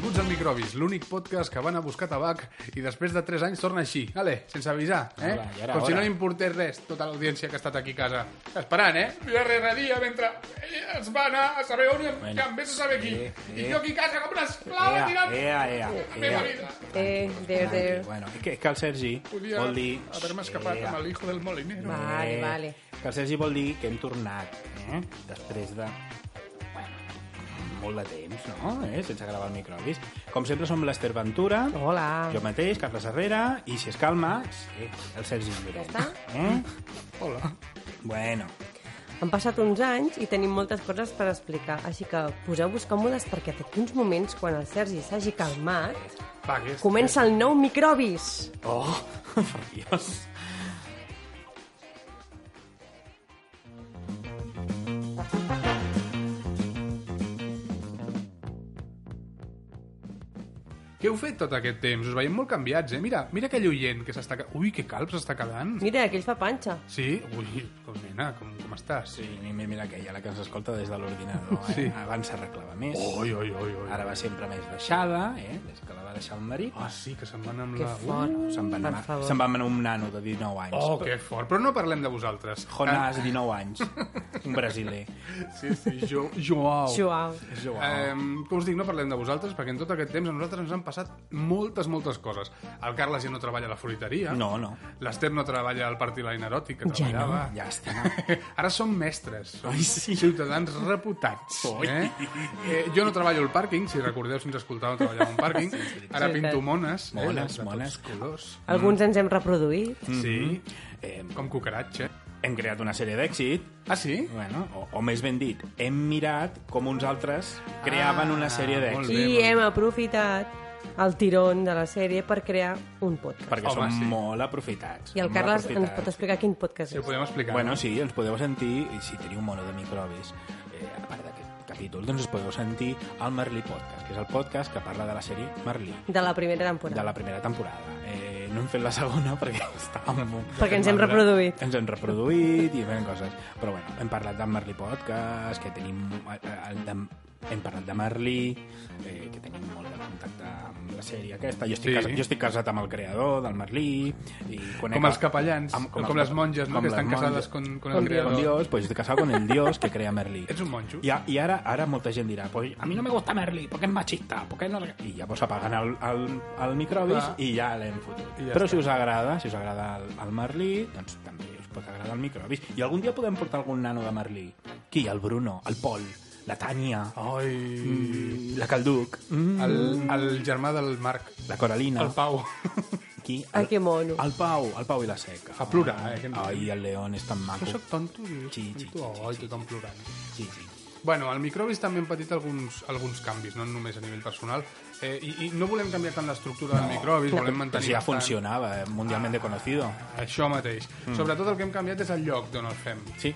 Crítics, l'únic podcast que van a buscar tabac i després de 3 anys torna així, ale, sense avisar, eh? Ara, i ara, Com si ara. no li importés res tota l'audiència que ha estat aquí a casa. Esperant, eh? Jo darrere dia mentre ell es va anar a saber on i em, Bueno. bueno. em vés a saber qui. Eh, eh. I jo aquí a casa com una esclava Ea, tirant ea, ea, la meva ea. vida. Eh, there, there. Bueno, és que, és que el Sergi Podia vol dir... haver-me ah, escapat Ea. Eh, amb el hijo del molinero. Va. Vale, vale. Que el Sergi vol dir que hem tornat, eh? Després de... Bueno, molt de temps, no? Eh? Sense gravar el microbis. Com sempre som l'Ester Ventura, Hola. jo mateix, Carles Herrera, i si es calma, sí, eh, el Sergi Lloret. Ja està? Eh? Hola. Bueno, Han passat uns anys i tenim moltes coses per explicar, així que poseu-vos còmodes perquè d'aquí uns moments, quan el Sergi s'hagi calmat, Va, que és... comença el nou microbis. Oh, per Dios. Què heu fet tot aquest temps? Us veiem molt canviats, eh? Mira, mira aquell oient que s'està... ca- Ui, que calb s'està quedant. Mira, aquell fa panxa. Mm, Sí? Ui, com nena, com, com estàs? Sí, mira, mira aquella, la que ens escolta des de l'ordinador. Eh? Sí. Oh, Abans s'arreglava més. Oi, oi, oi, oi. Ara va sempre més baixada, eh? des que la va deixar el marit. Ah, sí, que se'n van amb Que la... Uh! fort. uh, Se'n va, Per anar, favor. se'n va anar un nano de 19 anys. Oh, que fort. Però no parlem de vosaltres. Jonás, 19 anys. Un brasiler. Ah, Sí, sí, jo, Joao. Joao. Joao. Eh, com us dic, no parlem de vosaltres, perquè en tot aquest temps a nosaltres ens han passat moltes, moltes coses. El Carles ja no treballa a la fruiteria. Eh, No, no. L'Ester no treballa al Parti Line Eròtic, que Ja no. treballava. Llàstima. Ara som mestres, som Ai, sí. ciutadans reputats. Oi. Eh? Eh, jo no treballo al pàrquing, si recordeu, si ens escoltàveu, treballava un pàrquing. Ara Sí, pinto sí. Ah. mones, eh, Mones, de tots mones. colors. Alguns ens hem reproduït. Mm, Sí, Eh, com cucaratge. hem creat una sèrie d'èxit, Ah, sí? bueno, o, o més ben dit, hem mirat com uns altres creaven una sèrie Ah, molt d'èxit. bé, I molt bé. hem aprofitat el tirón de la sèrie per crear un podcast. Perquè Home, som sí. molt aprofitats. I el molt Carles ens pot aprofitats. explicar quin podcast Sí, ho és. podem explicar. Bueno, sí, ens podeu sentir, i si teniu mono de microbis, eh, a part d'aquest capítol, doncs us podeu sentir al Merlí Podcast, que és el podcast que parla de la sèrie Merlí, De la primera de temporada. la primera temporada. Eh, no hem fet la segona perquè estàvem... Perquè ens hem reproduït. Ens hem reproduït i fent coses. Però bueno, hem parlat del Merlí Podcast, que tenim... eh, El de, hem parlat de Merlí, eh, que tenim molt de contacte amb la sèrie aquesta. Jo estic, Sí. casat, jo estic casat amb el creador del Merlí. I conec Com els a- capellans, com, com les monges, no? que les estan monges. casades con, con el Con creador. Con Dios, pues yo estoy casado con el Dios que crea Merlí. Ets un monjo. Y, a- y ahora, ahora molta gent dirà, pues a mí no me gusta Merlí, porque es machista, porque no... I llavors apaguen el, el, el microbis Clar. i ja l'hem fotut. I ja Però està. si us agrada, si us agrada el, el Merlí, doncs també us pot agradar el microbis. I algun dia podem portar algun nano de Merlí. Qui? El Bruno, el Pol, la Tània, Ai... mm, la Calduc, mm, El, el germà del Marc, la Coralina, el Pau. Qui? Ah, que mono. El Pau, el Pau i la Seca. Fa plorar, eh, aquest Ai, el León és tan maco. Jo sóc tonto, dius? Sí, sí, tonto? sí, Ai, tothom plorant. Sí, sí. Bueno, el microbis també hem patit alguns, alguns canvis, no només a nivell personal. Eh, i, I no volem canviar tant l'estructura del microbis, volem Ah. Pues mantenir ya bastant- funcionaba, eh, mundialmente conocido. Això mateix. Mm. Sobretot el que hem canviat és el lloc d'on el fem. Sí,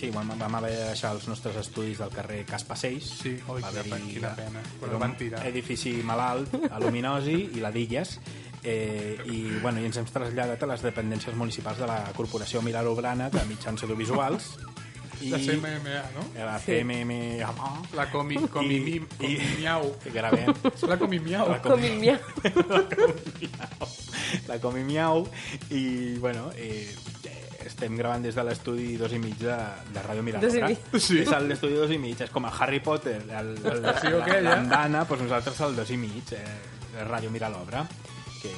sí, vam, vam haver de deixar els nostres estudis del carrer Caspa 6. Sí, oi, quina haver-hi- pena, quina pena, quan era el van un tirar. Edifici malalt, a Luminosi i la d'Illes. Eh, i, bueno, I ens hem traslladat a les dependències municipals de la Corporació Milaroblana de mitjans audiovisuals. I La CMMA, no? eh, La CMM... La comi, comi, mi, comi, miau. I, gravem. La comi, miau. La Com i mia. la Comi Miau i bueno eh, eh, estem gravant des de l'estudi dos i mig de, de Ràdio Dos i Miradora mig. Sí. és el- l'estudi dos i mig, és com el Harry Potter el, el, Sí, la- aquella. l'andana doncs nosaltres el dos i mig eh, de Ràdio Miralobra que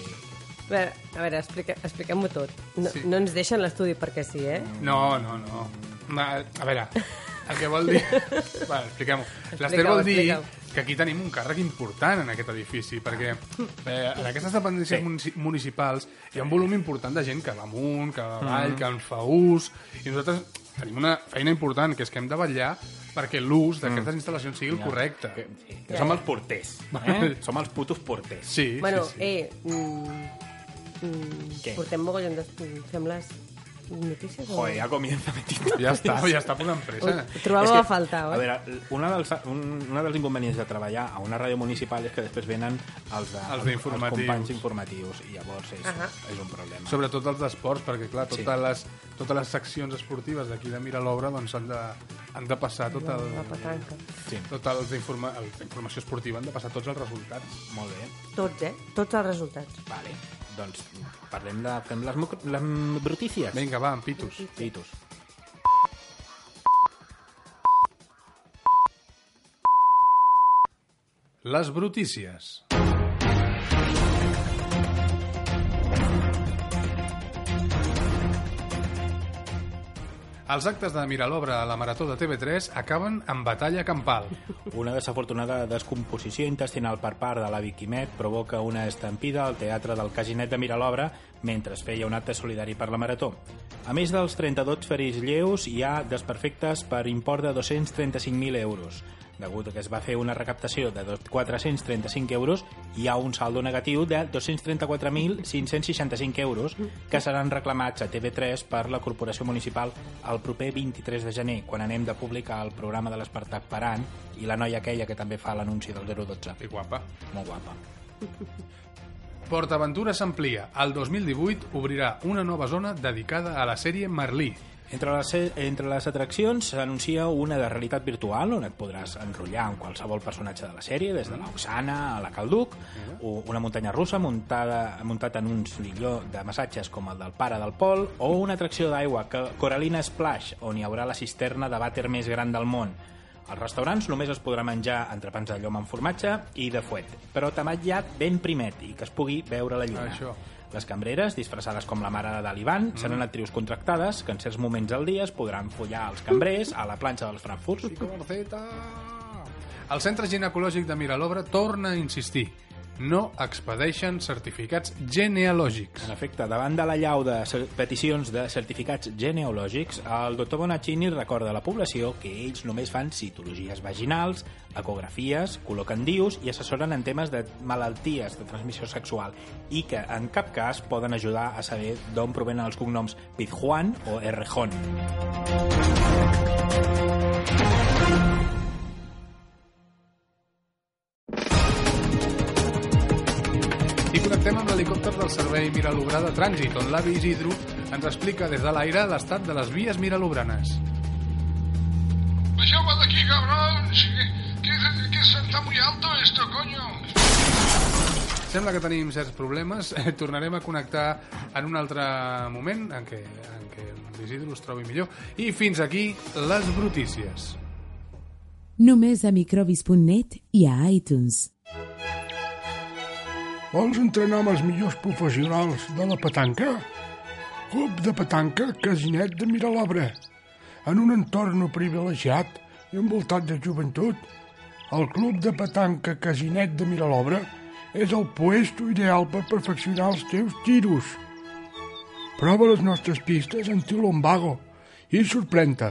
A veure, a veure, explica- expliquem-ho tot. No, Sí. no ens deixen l'estudi perquè sí, eh? Mm. No, no, no. Ma, a veure, el que vol dir... Va, expliquem-ho. L'Ester Explica-ho, vol dir explica-ho. que aquí tenim un càrrec important en aquest edifici, perquè eh, en aquestes dependències Sí. munici- municipals hi ha un volum important de gent que va amunt, que va Mm. avall, que en fa ús, i nosaltres tenim una feina important, que és que hem de vetllar perquè l'ús Mm. d'aquestes instal·lacions sigui el correcte. Eh, que, sí, que som els porters eh? som els putos porters Sí, Bueno, sí, sí. eh... Mm, mm, Què? portem mogollon d'estudis. Fem les Notícies? o- Joder, ja comienza metido. Ja està, ja està posant pressa. Ho trobava És que, a faltar, oi? A veure, una dels, un, una dels inconvenients de treballar a una ràdio municipal és que després venen els, de, Els d'informatius. companys informatius i llavors és, Ahà. és un problema. Sobretot els d'esports, perquè, clar, totes, Sí. les, totes les seccions esportives d'aquí de Mira l'Obra doncs, han, de, han de passar tot el... La petanca. Sí, Tot els informa els d'informació esportiva han de passar tots els resultats. molt bé. Tots, eh? Tots els resultats. Vale. Doncs parlem de... Fem les, micro- les brutícies. Vinga, va, amb pitos. Titus. Les brutícies. Els actes de Mira l'Obra a la Marató de TV3 acaben amb batalla campal. Una desafortunada descomposició intestinal per part de l'avi Quimet provoca una estampida al Teatre del Casinet de Miralobra mentre es feia un acte solidari per la Marató. A més dels 32 ferits lleus, hi ha desperfectes per import de 235.000 euros. Degut a que es va fer una recaptació de 435 euros, hi ha un saldo negatiu de 234.565 euros que seran reclamats a TV3 per la Corporació Municipal el proper 23 de gener, quan anem de publicar el programa de l'Espartac Parant i la noia aquella que també fa l'anunci del 012. Que guapa. Molt guapa. PortAventura s'amplia. El 2018 obrirà una nova zona dedicada a la sèrie Merlí. Entre les, e, entre les atraccions s'anuncia una de realitat virtual on et podràs enrotllar amb qualsevol personatge de la sèrie, des de l'Oxana a la Calduc, o una muntanya russa muntada, muntat en un silló de massatges com el del pare del Pol, o una atracció d'aigua, que- Coralina Splash, on hi haurà la cisterna de vàter més gran del món. Als restaurants només es podrà menjar entrepans de llom amb formatge i de fuet, però tamallat ben primet i que es pugui veure la lluna. Això. Les cambreres, disfressades com la mare de l'Ivan, seran actrius contractades que en certs moments del dia es podran follar als cambrers a la planxa dels Frankfurts. Barceta! El Centre Ginecològic de Miralobra torna a insistir. No expedeixen certificats genealògics. En efecte, davant de la llau de cer- peticions de certificats genealògics, el doctor Bonaccini recorda a la població que ells només fan citologies vaginals, ecografies, col·loquen dius i assessoren en temes de malalties de transmissió sexual i que en cap cas poden ajudar a saber d'on provenen els cognoms Pizjuan o Errejón. I connectem amb l'helicòpter del Servei Miralobrà de Trànsit, on l'avi Isidro ens explica des de l'aire l'estat de les vies miralobranes. Baixeu-me d'aquí, cabrons! Que, que, que está muy alto esto, coño! Sembla que tenim certs problemes. Eh, Tornarem a connectar en un altre moment en què, en què l'Isidro es trobi millor. I fins aquí les brutícies. Només a microbis.net i a iTunes. Vols entrenar amb els millors professionals de la petanca? Club de petanca Casinet de Miralobra. En un entorn privilegiat i envoltat de joventut, el Club de Petanca Casinet de Miralobra és el puesto ideal per perfeccionar els teus tiros. Prova les nostres pistes antilombago i sorprèn-te.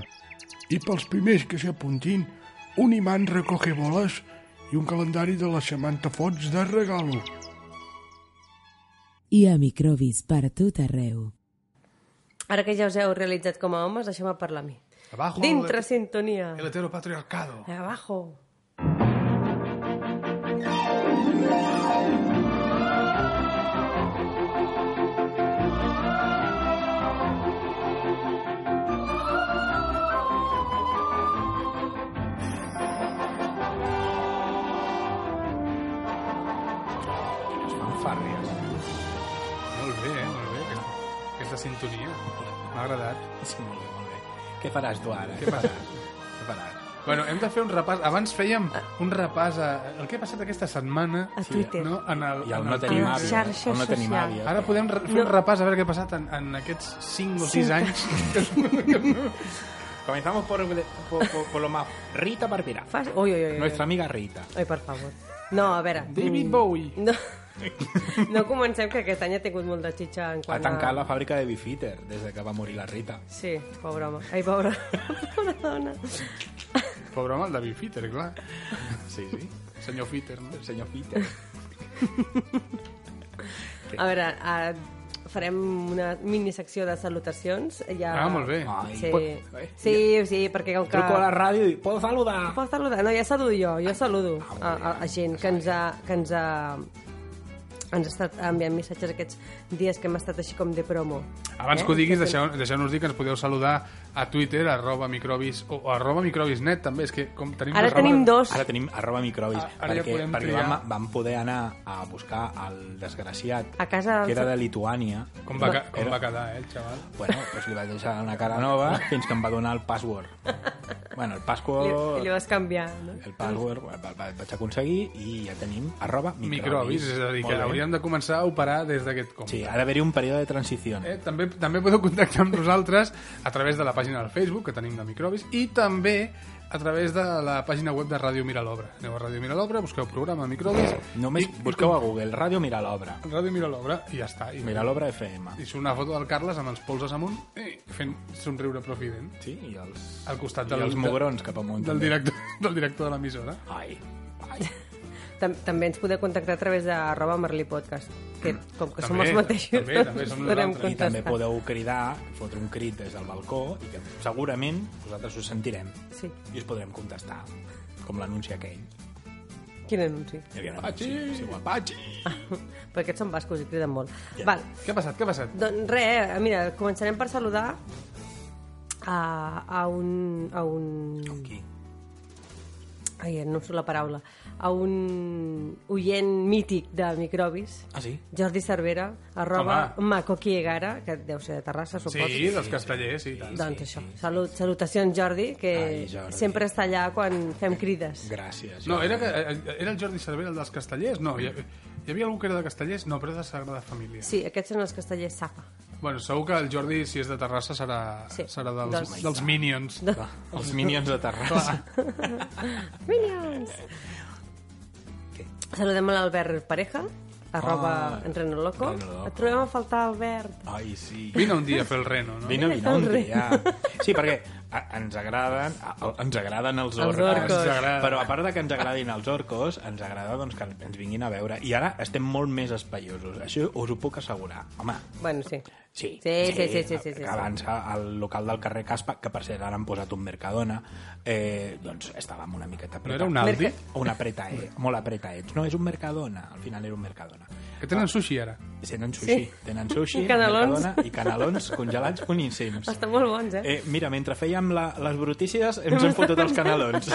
I pels primers que s'apuntin, un imant recoge boles i un calendari de la Samantha Fots de regalo. I a microbis per tot arreu. Ara que ja us heu realitzat com a homes, deixeu-me parlar a mi. Abajo Dintre el, sintonia. el heteropatriarcado. Abajo. Fanfàrries. Molt bé, eh? molt bé. Aquesta, aquesta sintonia. M'ha agradat. Sí, molt bé, molt bé. Què faràs tu ara? Què faràs? Què faràs? Bueno, hem de fer un repàs. Abans fèiem un repàs a... el que ha passat aquesta setmana. Ah. A Twitter. No? En el, I el en no tenim les àvia. xarxes el no tenim socials. àvia. Ara podem re- fer un repàs a veure què ha passat en, en aquests 5 o 6 anys. Comenzamos por, por, por, por lo más. Rita Barbera. Fas... Ui, ui, Eh. ui, ui. Nuestra amiga Rita. Ai, per favor. No, a veure... David mm, Bowie. No, no comencem, que aquest any ha tingut molt de xitxa en Ha quant tancat la fàbrica de Bifitter des de que va morir la Rita. Sí, pobre home. Ai, pobra, pobra dona. Pobre home, el David Fitter, clar. Sí, sí. Senyor Fitter, no? El senyor Peter. A veure, a... eh, farem una minisecció de salutacions. Ja... Ah, molt bé. Ai, Sí, pot- eh, sí, sí, perquè com que... Truco a la ràdio i puedo saludar. Pots saludar? No, ja saludo jo, jo saludo Ah, a, a, a gent que ens ha, que ens ha, ens ha estat enviant missatges aquests dies que hem estat així com de promo. Abans que ho diguis, deixeu- deixeu-nos dir que ens podeu saludar a Twitter, arroba microbis, o arroba microbisnet, també. És que com tenim... Ara arroba- tenim dos. Ara tenim arroba microbis, Ah, ara ja perquè, podem perquè triar. vam, vam poder anar a buscar el desgraciat, A casa del- que era de Lituània. Com va, ca- com va quedar, eh, el xaval? Bueno, doncs li vaig deixar una cara nova fins que em va donar el password. bueno, el I, password... I li vas canviar, no? El password el, el, el vaig aconseguir i ja tenim arroba microbis. Microbis, és a dir, que Molt bé. hauríem de començar a operar des d'aquest compte. Sí, ha d'haver-hi un període de transició. Eh, també, també podeu contactar amb nosaltres a través de la pàgina del Facebook, que tenim de Microbis, i també a través de la pàgina web de Ràdio Mira l'Obra. Aneu a Ràdio Mira l'Obra, busqueu programa Microbis, Només busqueu a Google, ràdio mira l'obra. Ràdio Mira l'Obra, i ja està. I, Mira l'obra FM. I surt una foto del Carles amb els polses amunt i fent somriure profident Sí, i els, al costat i del, els mugrons cap amunt. del, també. director, del director de l'emissora. Ai, Tam també ens podeu contactar a través de arroba Merlí Podcast, que com que som També, els mateixos, també, també som us podem nosaltres. I també contestar. podeu cridar, fotre un crit des del balcó i que segurament vosaltres us sentirem Sí, i us podrem contestar, com l'anunci aquell. quin anunci. Hi havia un anunci, sí, guapachi! Perquè aquests són bascos i criden molt. Ja. Val, Què ha passat? Què ha passat? doncs res, eh, mira, començarem per saludar a, a un... A un... Qui? Ai, no em surt la paraula. A un oient mític de microbis, Ah, sí? Jordi Cervera, arroba Home. Macoquiegara, que deu ser de Terrassa, suposo. Sí, dels castellers, sí, i tant. Doncs això, salut, salutacions Jordi, que Ai, Jordi. sempre està allà quan fem crides. Gràcies. No, Jordi. era, que, eh, era el Jordi Cervera el dels castellers? No, hi, ha- hi havia algú que era de castellers? No, però és de Sagrada Família. Sí, aquests són els castellers Sapa. Bueno, segur que el Jordi, si és de Terrassa, serà, Sí. Doncs sí. serà dels, Dels- dels, dels Minions. De... Va, Els Minions de Terrassa. Minions! Saludem a l'Albert Pareja, arroba Ah, ah, Entrenoloco. Reno Loco. Et trobem a faltar, Albert. Ai, sí. Vine un dia a fer el reno, no? Vine, vine, un el rei. dia. Sí, perquè a- ens agraden, a- a- ens agraden els orcos, orcos. Ens agraden. però a part de que ens agradin els orcos, ens agrada doncs, que ens vinguin a veure. I ara estem molt més espaiosos, això us ho puc assegurar. Home, Bueno, sí. Sí, Sí, sí, sí, sí, sí, sí, que sí. abans al local del carrer Caspa, que per cert ara han posat un Mercadona, eh, doncs estàvem una miqueta No apretats. era un Aldi? Mercat. Una apreta, eh, molt apretaets. No, és un Mercadona, al final era un Mercadona. Que tenen sushi ara. Tenen sushi, sí. tenen sushi, I canelons. Mercadona i canelons congelats boníssims. Estan molt bons, eh? Eh, mira, mentre fèiem la, les brutícies ens hem fotut els canelons.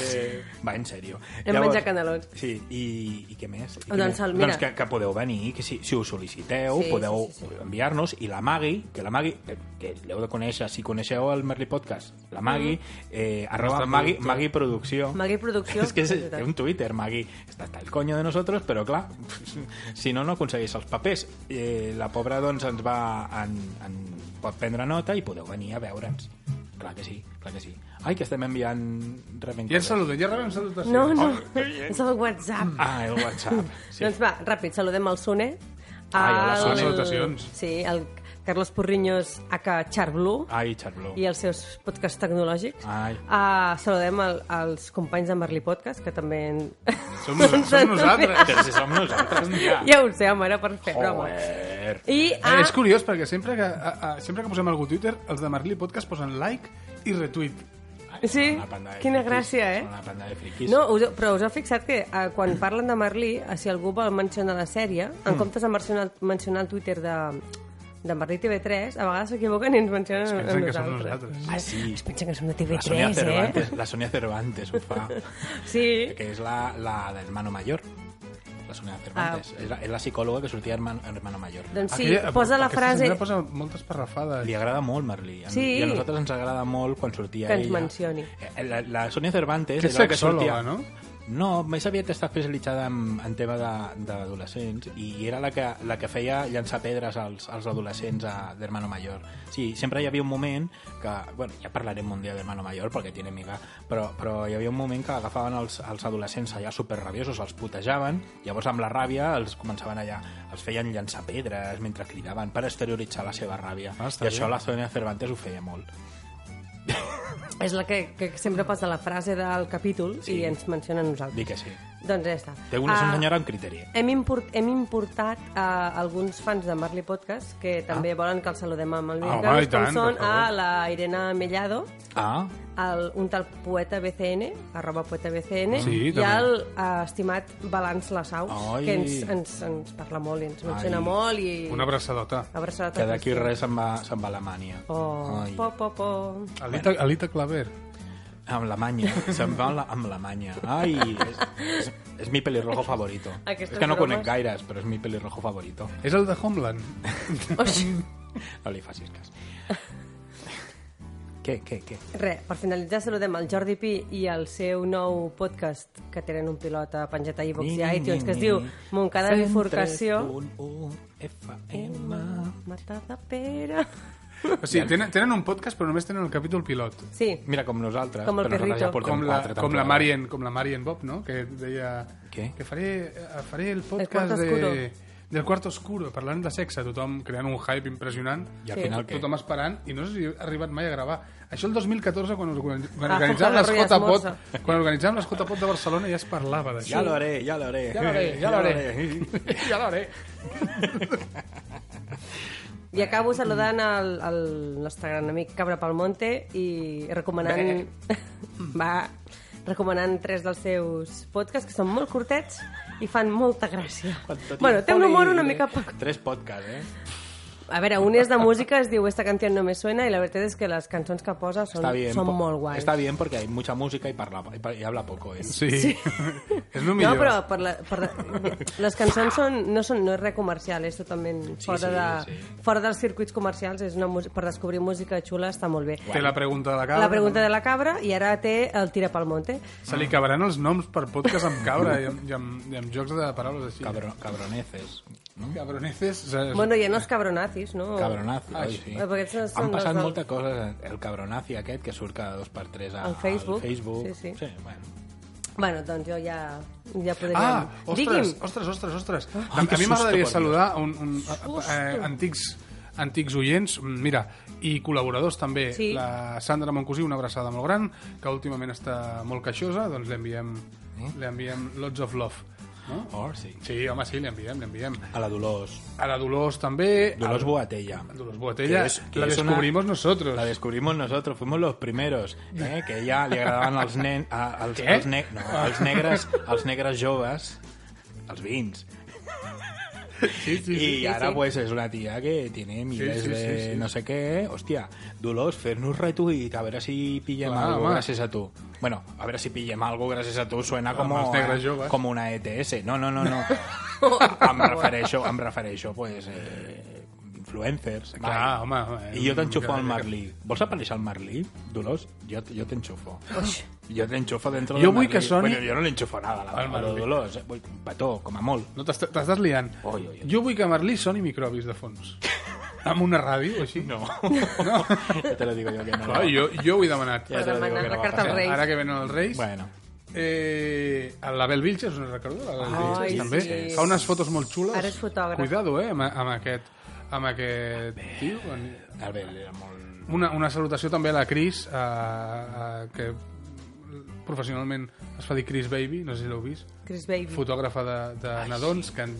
Eh, va, en sèrio. Hem menjat canelons. Sí, i, i què més? I Doncs, què més? el- mira. doncs que, que podeu venir, que si, si ho sol·liciteu, Sí, podeu sí, sí, sí. enviar-nos. I la Magui, que la Magui, eh, que l'heu de conèixer, si coneixeu el Merli Podcast, la Magui, eh, arroba Nostra Magui, productora. Magui Producció. Mm. Magui Producció, És que és, és veritat. és un Twitter, Magui. Està hasta el coño de nosotros, però clar, si no, no aconsegueix els papers. Eh, la pobra, doncs, ens va... En, en, pot prendre nota i podeu venir a veure'ns. Clar que sí, clar que sí. Ai, que estem enviant... rebent Ja ens coses. saluden, ja rebem salutacions. No, no, és el WhatsApp. Oh, Ah, el WhatsApp. Sí. Sí. Doncs va, ràpid, saludem al Sune. Ai, hola, al- Sune, salutacions. Sí, el Carlos Porriños, aka Charblue, Ai, Charbló. i els seus podcasts tecnològics. Ai. Uh, saludem el, els companys de Merli Podcast, que també... en- Som, nos som nosaltres. Però si som nosaltres, ja. ja ho sé, home, era per fer broma. Joder. I a... Eh, és curiós, perquè sempre que, a, a, sempre que posem algú a Twitter, els de Marlí Podcast posen like i retweet. Sí, Són una panda de quina friquis, gràcia, eh? Són una panda de friquis. No, us, però us heu fixat que eh, quan parlen de Merlí, eh, si algú vol mencionar la sèrie, Mm. en comptes de mencionar, mencionar el Twitter de, de Merlí TV3, a vegades s'equivoquen i ens mencionen Es a pensen que som nosaltres. nosaltres. Ah, sí. Pensen que som de La Sonia TV3, eh? Cervantes, la Sonia Cervantes ho fa. Sí, que es la, la de hermano mayor. La Sonia Ah, Cervantes. Es, la, es la psicóloga que sortía hermano, hermano mayor. doncs sí, Aquella- posa la aquesta frase senyora posa moltes parrafades. Li agrada molt, Merlí. A- Sí. I a nosaltres ens agrada molt quan sortia Que ens ella. mencioni. Eh, La, la Sonia Cervantes... Que és era la sexòloga, no? No, més aviat està especialitzada en, en tema de- d'adolescents i era la que, la que feia llançar pedres als, als adolescents a- d'Hermano Mayor. Sí, sempre hi havia un moment que... Bueno, ja parlarem un dia d'Hermano Mayor perquè tiene miga, però, però hi havia un moment que agafaven els, els adolescents allà superrabiosos, els putejaven, llavors amb la ràbia els començaven allà, els feien llançar pedres mentre cridaven per exterioritzar la seva ràbia. Ah, està I això bé. la Sonia Cervantes ho feia molt. és la que, que sempre posa la frase del capítol Sí. i ens menciona a nosaltres. Dic que sí. Doncs ja està. Té una Ah, senyora amb criteri. Hem, import, hem importat a alguns fans de Marley Podcast que també volen que els saludem amb el Ah, Miguel home, i Carlos, com tant, són per favor. a la Irene Mellado, Ah, el, un tal poeta BCN, arroba poeta BCN, Sí, i també. el eh, estimat Balanç Lasaus, Ai. que ens, ens, ens parla molt i ens menciona Ai. molt i... Una abraçadota. abraçada. que d'aquí res se'n va, se'n va a Alemanya. Oh, Ai, po, po, po. Alita, Alita Claver. Amb Alemanya. Se'n va a la- amb Alemanya. Ai, és, és, és mi pelirrojo favorito. és Aquestes que no bromes. conec gaires, però és mi pelirrojo favorito. És el de Homeland. No li facis cas. què, què, què? Re, per finalitzar saludem el Jordi Pi i el seu nou podcast que tenen un pilot a penjat a iVox i a iTunes que es diu Montcada Cent Bifurcació tres punt u FM. Matada Pere O sigui, tenen, tenen un podcast, però només tenen el capítol pilot. Sí, Mira, com nosaltres, Com el però nosaltres ja perrito. portem Com la, quatre com la temporades. Marian, com la Marian Bob, no? Que deia Què? que faré, eh, faré el podcast quarto de, oscuro. del quart oscuro, parlant de sexe, tothom creant un hype impressionant, I al Sí. final què? tothom esperant, i no sé si ha arribat mai a gravar. Això el 2014, quan, organi- quan Ah, organitzàvem la les Roya J-Pot, Esmorza. quan organitzàvem les J-Pot de Barcelona ja es parlava Ja d'això. lo haré, ja lo haré. Ja lo haré, ja lo haré. Ja l'haré. i acabo saludant el, el nostre gran amic Cabra Palmonte i recomanant va, recomanant tres dels seus podcasts que són molt curtets i fan molta gràcia Quanto bueno, té un tiempo humor una libre. mica poc Tres podcasts, eh? A veure, un és de música, es diu Esta canción no me suena, i la veritat és que les cançons que posa són, Está bien. són po- molt guais. Está bien porque hay mucha música y, parla, y, pa- y habla poco, ¿eh? Sí. És el No, millor. però per la, per la, les cançons són, no, són, no és res comercial, és totalment fora, sí, de, sí. fora dels circuits comercials, és una, mus- per descobrir música xula està molt bé. Té la pregunta de la cabra. La pregunta de la cabra i ara té el tira pel monte. Se li acabaran els noms per podcast amb cabra i amb, i amb, i amb jocs de paraules així. Cabro- cabroneces. ¿no? Cabroneces. o sigui, Bueno, ja no és cabronazis, no? Cabronazi, oi, sí. Eh, perquè aquests no són Han passat els del- moltes coses. El cabronazi aquest que surt cada dos per tres a, Al Facebook. Al Facebook. Sí, sí. sí bueno. Bueno, doncs jo ja, ja podríem... Ah, ostres, Digui'm, ostres, ostres, ostres. Ai, a que mi susto, m'agradaria per saludar un, un, eh, antics antics oients, mm, mira, i col·laboradors també. Sí. La Sandra Moncosí, una abraçada molt gran, que últimament està molt queixosa, doncs li enviem, Eh? li enviem lots of love. No? Oh, sí. Sí, home, sí, li enviem, li enviem. A la Dolors. A la Dolors també. Dolors Boatella. A Dolors Boatella. Que és- que la és una- descubrimos nosotros. La descubrimos nosotros, fuimos los primeros, eh? que ja li agradaven els nens, els, Què? els, ne no, els, negres, els negres joves, els vins. Sí, sí, sí. I ara, sí. pues, és una tia que tiene miles sí, de sí, sí. no sé què. Hòstia, Dolors, fer-nos retuit, a veure si pillem Clar, algo home. gràcies a tu. Bueno, a veure si pillem algo gràcies a tu suena com, els negres joves. com una ETS. No, no, no, no. em refereixo, em refereixo, pues, eh, influencers. Clar, home, eh, home, I jo t'enxufo una al mica- Marlí. Vols aparèixer al Marlí, Dolors? Jo, jo t'enxufo. Jo t'enxufo dentro Jo del vull Marlí. que soni- Bueno, jo no l'enxufo nada, la, Al la, la Marlí. Dolors. eh? Vull un petó, com a molt. No t'est- t'estàs liant. Oi, oi, oi. Jo vull que Merlí soni microbis de fons. amb una ràdio, així? No. no. ya te lo digo yo que no. Clar, jo, jo ho he demanat. Ja te lo digo demanar que no la va carta passar. als Reis. Ara que venen els Reis. Bueno. Eh, l'Abel Vilches, no recordo? L'Abel Ai, Vilches, també. sí. Fa unes fotos molt xules. Ara és fotògraf. Cuidado, eh, amb, amb aquest, amb aquest tio. Albert era molt... Una, una salutació també a la Cris, a, a, que professionalment es fa dir Cris Baby, no sé si l'heu vist, Chris Baby. fotògrafa de, de nadons, que en,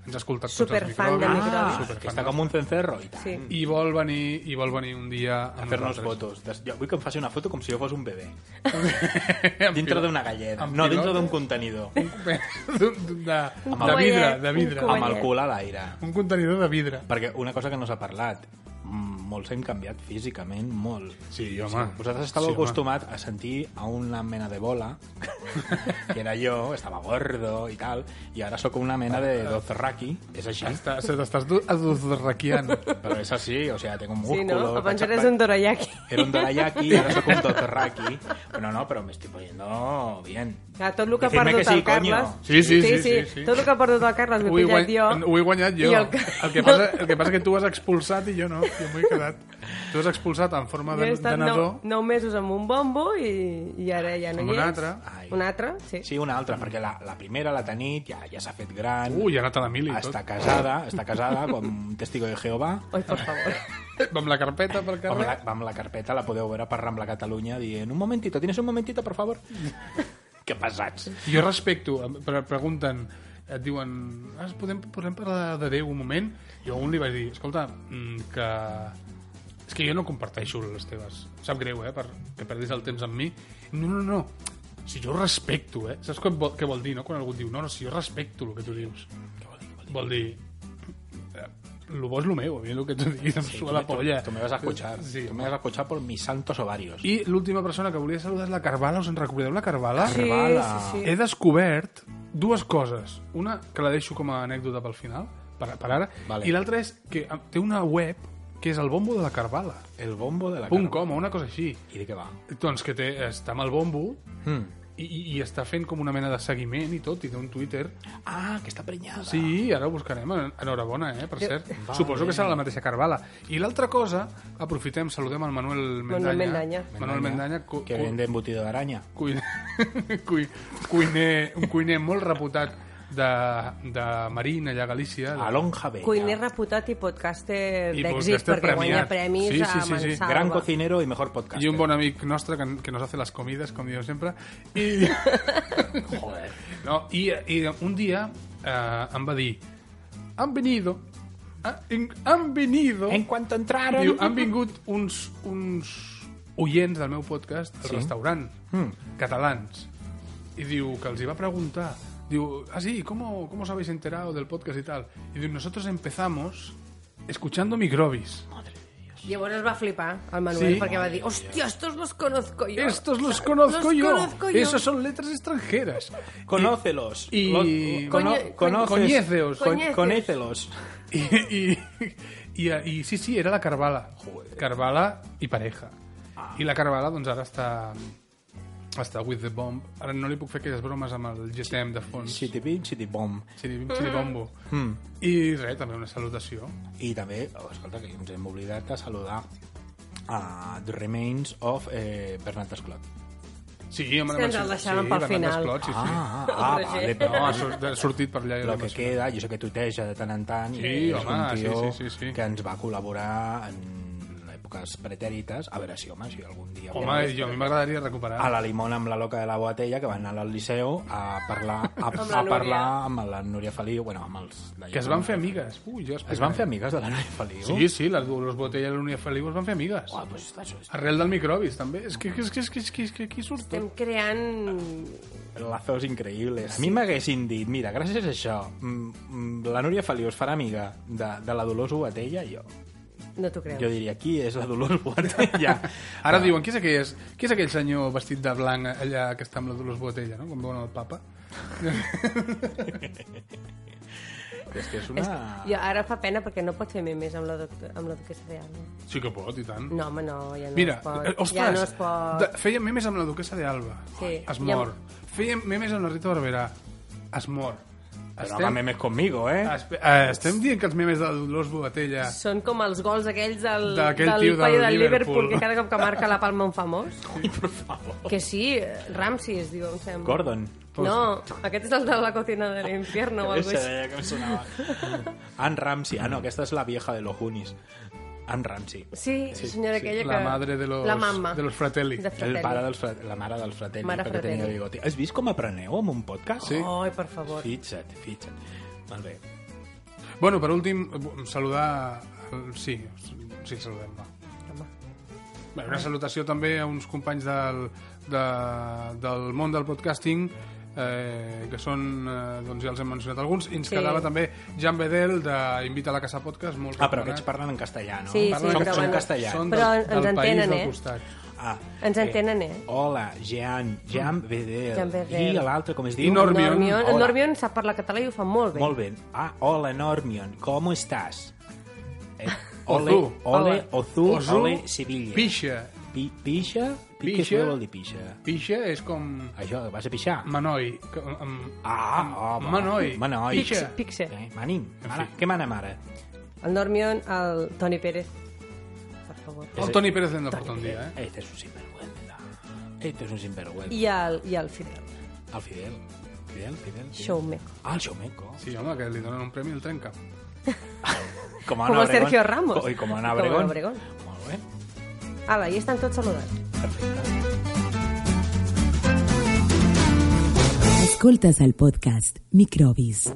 ens ha escoltat Superfan tots els de microbis. microbis. Ah, que superfan està com un cencerro i tal. Sí. i vol venir, i vol venir un dia A fer-nos fotos. Des- Jo vull que em faci una foto com si jo fos un bebè. Dintre dintre d'una galleda. Amb No, pilota. dintre d'un contenidor. de, Amb de el- vidre, de vidre. eh? Amb Un el Guanyet. cul a l'aire. Un contenidor de vidre. Perquè una cosa que no s'ha parlat, mm, molts hem canviat físicament, molt. Sí, home. Vosaltres estàveu Sí, sí, home. acostumat a sentir a una mena de bola, que era jo, estava gordo i tal, i ara sóc una mena Ah, de dozraki, és així. Està, se t'estàs du- adorraquiant. Però és així, o sigui, tinc un Sí, músculo... no? Abans faig- eres un dorayaki. Era un dorayaki, ara sóc un totorraki. Però no, però m'estic poniendo bien. A tot el que ha Decidme perdut que sí, el Carles. coño. Sí, sí, sí, sí, sí. Tot el que ha perdut el Carles m'he Ho he, pillat guany... jo. ho he guanyat jo. I El... el que- el, que passa, el que passa que tu has expulsat i jo no. Jo m'ho he quedat. Tu has expulsat en forma Jo de, he de estat nadó. nou, nou mesos amb un bombo i, i ara ja no Amb un hi és. altre. Ai. Un altre, sí. Sí, una altra, perquè la, la primera l'ha tenit, ja, ja s'ha fet gran, Mm. Ui, ha anat a l'Emili Uh, i tot. està casada, està casada com un testigo de Jehovà, Oi, per favor. Amb la carpeta pel Vam carrer. la, vam la carpeta, la podeu veure per Rambla Catalunya dient un momentito, tienes un momentito, per favor? que pesats. Jo respecto, em pre- pregunten, et diuen, ah, podem, podem parlar de Déu un moment? Jo a un li vaig dir, escolta, mm, que... És que jo no comparteixo les teves. Em Sap greu, eh, per, que perdis el temps amb mi. No, no, no. Si jo respecto, eh? Saps què vol, què vol dir, no? Quan algú et diu, no, no, si jo respecto el que tu dius. Què vol dir? Vol dir, eh, lo bo és lo meu, a mi el que tu diguis em sí, suba la polla. Tu me vas a escuchar. Sí, tu me vas a escuchar por mis santos ovarios. I l'última persona que volia saludar és la Carvala, us en recordeu la Carvala? Sí, Carvala. sí, sí. He descobert dues coses. Una, que la deixo com a anècdota pel final, per, per ara, Vale. i l'altra és que eh, té una web que és el bombo de la Carvala. El bombo de la Punt carn. com, o una cosa així. I de què va? Doncs que té, està amb el bombo Hmm. i, i, i està fent com una mena de seguiment i tot, i té un Twitter. Ah, que està prenyada. Sí, ara ho buscarem. En- Enhorabona, eh, per cert. Vale. Suposo que serà la mateixa Carvala. I l'altra cosa, aprofitem, saludem el Manuel Mendanya. Mendanya. Manuel Mendanya, co- que co- vende embutido d'aranya. cuiner, cui- cuiner, un cuiner molt reputat de, de Marín, allà a Galícia. A Lonja Vella. Cuiner reputat i podcaster I d'èxit podcaster perquè guanya premiat. premis Sí, sí, sí, sí. a Mansalva. Gran cocinero i mejor podcast. I un bon amic nostre que, que nos hace las comidas, com diu sempre. I, Joder. no, i, i un dia eh, em va dir han venido ha- en- han venido En cuanto entraron... diu, han vingut uns, uns oients del meu podcast al sí? restaurant, mm. catalans i diu que els hi va preguntar diu, ah sí, ¿cómo, ¿cómo os habéis enterado del podcast y tal? y diu, nosotros empezamos escuchando microbis Llavors es va flipar el Sí. Manuel perquè va dir hòstia, estos los conozco yo. estos los conozco Los yo conozco yo. esos son letras extranjeras Conócelos. Y- Lo- cono- Coñe- conoces- coñeceos. con- Coñeces. Conécelos. y, y, y, y sí, sí, era la Carvala. Joder. Carvala i pareja. Ah. I la Carvala, doncs, ara està està with the bomb. Ara no li puc fer aquelles bromes amb el GTM de fons. Sí. Chitipim, chitipom. Chiribombo. Mm. I res, també una salutació. I també, oh, escolta, que ens hem oblidat de saludar a The Remains of eh, Bernat Desclot. Sí, home, que ens el deixaven pel final. Esclot, sí, sí. Ah, ah, Roger. vale, No, però... ha sor- ha sortit per allà. i el la que cosa. queda, jo sé que tuiteja de tant en tant Sí, i és home, un tio sí, sí, sí, sí. que ens va col·laborar en èpoques pretèrites a veure si, home, si algun dia Home, eh, jo, a mi m'agradaria recuperar. a Ah, la Limona amb la loca de la Boatella que va anar al Liceu a parlar a, la a Núria. parlar amb la Núria Feliu bueno, amb els... Que es van fer amigues. Ui, jo es van fer amigues de la Núria Feliu? Sí, sí, les dues botellas de l'Unia Feliu es van fer amigues. Uah, pues, això és... Arrel del microbis, també. És que, és que, és que, és que, és que aquí surt tot. Estem creant... lazos increïbles. A mi m'haguessin dit, mira, gràcies a això, mm, mm, la Núria Feliu es farà amiga de, de la Dolors Boatella, jo, No t'ho creus. jo diria, qui és la Dolors Boatella? Ara diuen, qui és, aquell, qui és aquell senyor vestit de blanc allà que està amb la Dolors Botella, no? Quan veuen el papa. És que és És, una... "Ah". jo ara fa pena perquè no pot fer memes amb la, doctor, amb la duquesa de Alba. Sí que pot, i tant. No, home, no, ja no Mira, es pot. eh, ostres, ja no es pot. de, fèiem memes amb la duquesa d'Alba. Sí. Es mor. Fèiem memes amb la Rita Barberà. Es mor. Però no memes conmigo, eh? espe- eh, estem dient que els memes de la Dolors Botella... Són com els gols aquells del, D'aquell del tio del paio del Liverpool. Liverpool, que cada cop que marca la palma un famós. Que sí, Ramsey es diu, em sembla. Gordon. No, aquest és el de la cocina de l'infierno o Esa alguna cosa així. deia que em sonava. Anne Ramsey. Ah, no, aquesta és la vieja de los Goonies. Anne Ramsey. Sí, sí, senyora aquella La que... madre de los, La mamma. de los fratelli. De El fratelli. pare dels fratelli, la mare dels fratelli, Mare perquè tenia Fratelli. bigoti. Has vist com apreneu amb un podcast? Sí. Ai, per favor. Fixa't, fixa't. Molt bé. Bueno, per últim, eh, saludar... el- Sí, sí, saludem, va. Home. Bé, una salutació també a uns companys del, de, del món del podcasting eh, que són, eh, doncs ja els hem mencionat alguns i ens Sí. quedava també Jan Bedel de Invita a la Casa Podcast molt Ah, però recomanat. aquests parlen en castellà, no? Sí, sí, parlen Parlen que en, van- en castellà. són Però del, ens del país entenen, eh? del costat Ah, Ens eh, entenen, eh? Hola, Jean, Jean Bedel. Mm. Jean Bedel. I l'altre, com es diu? I Normion. Normion, Hola. el Normion sap parlar català i ho fa molt bé. Molt bé. Ah, hola, Normion. ¿Cómo estás? Eh, Ozu. Ole, Ozu, Ozu, Ole, Sevilla. Pixa Pi, pixa? Pi, Pixa. què vol dir pixa? Pixa és com Això, vas a pixar? Manoi que, amb... ah, home. Manoi. Manoi. Pixa. Pixa. Eh, manim. Mare, fi. què mana mare? El Normion, el Toni Pérez. Per favor. el Toni Pérez l'hem de portar un dia eh? Este és un sinvergüenza. Este és un sinvergüenza. I el, i el Fidel. El Fidel. Fidel, Fidel. Fidel. Showmeco. Ah, el Xomeco. sí home, que li donen un premi al trenca Com, Como Sergio Ramos. I com Como Ana Obregón. Obregón. Molt bé. Ala, i estan tots saludats. Perfecte. Escoltes el podcast Microbis.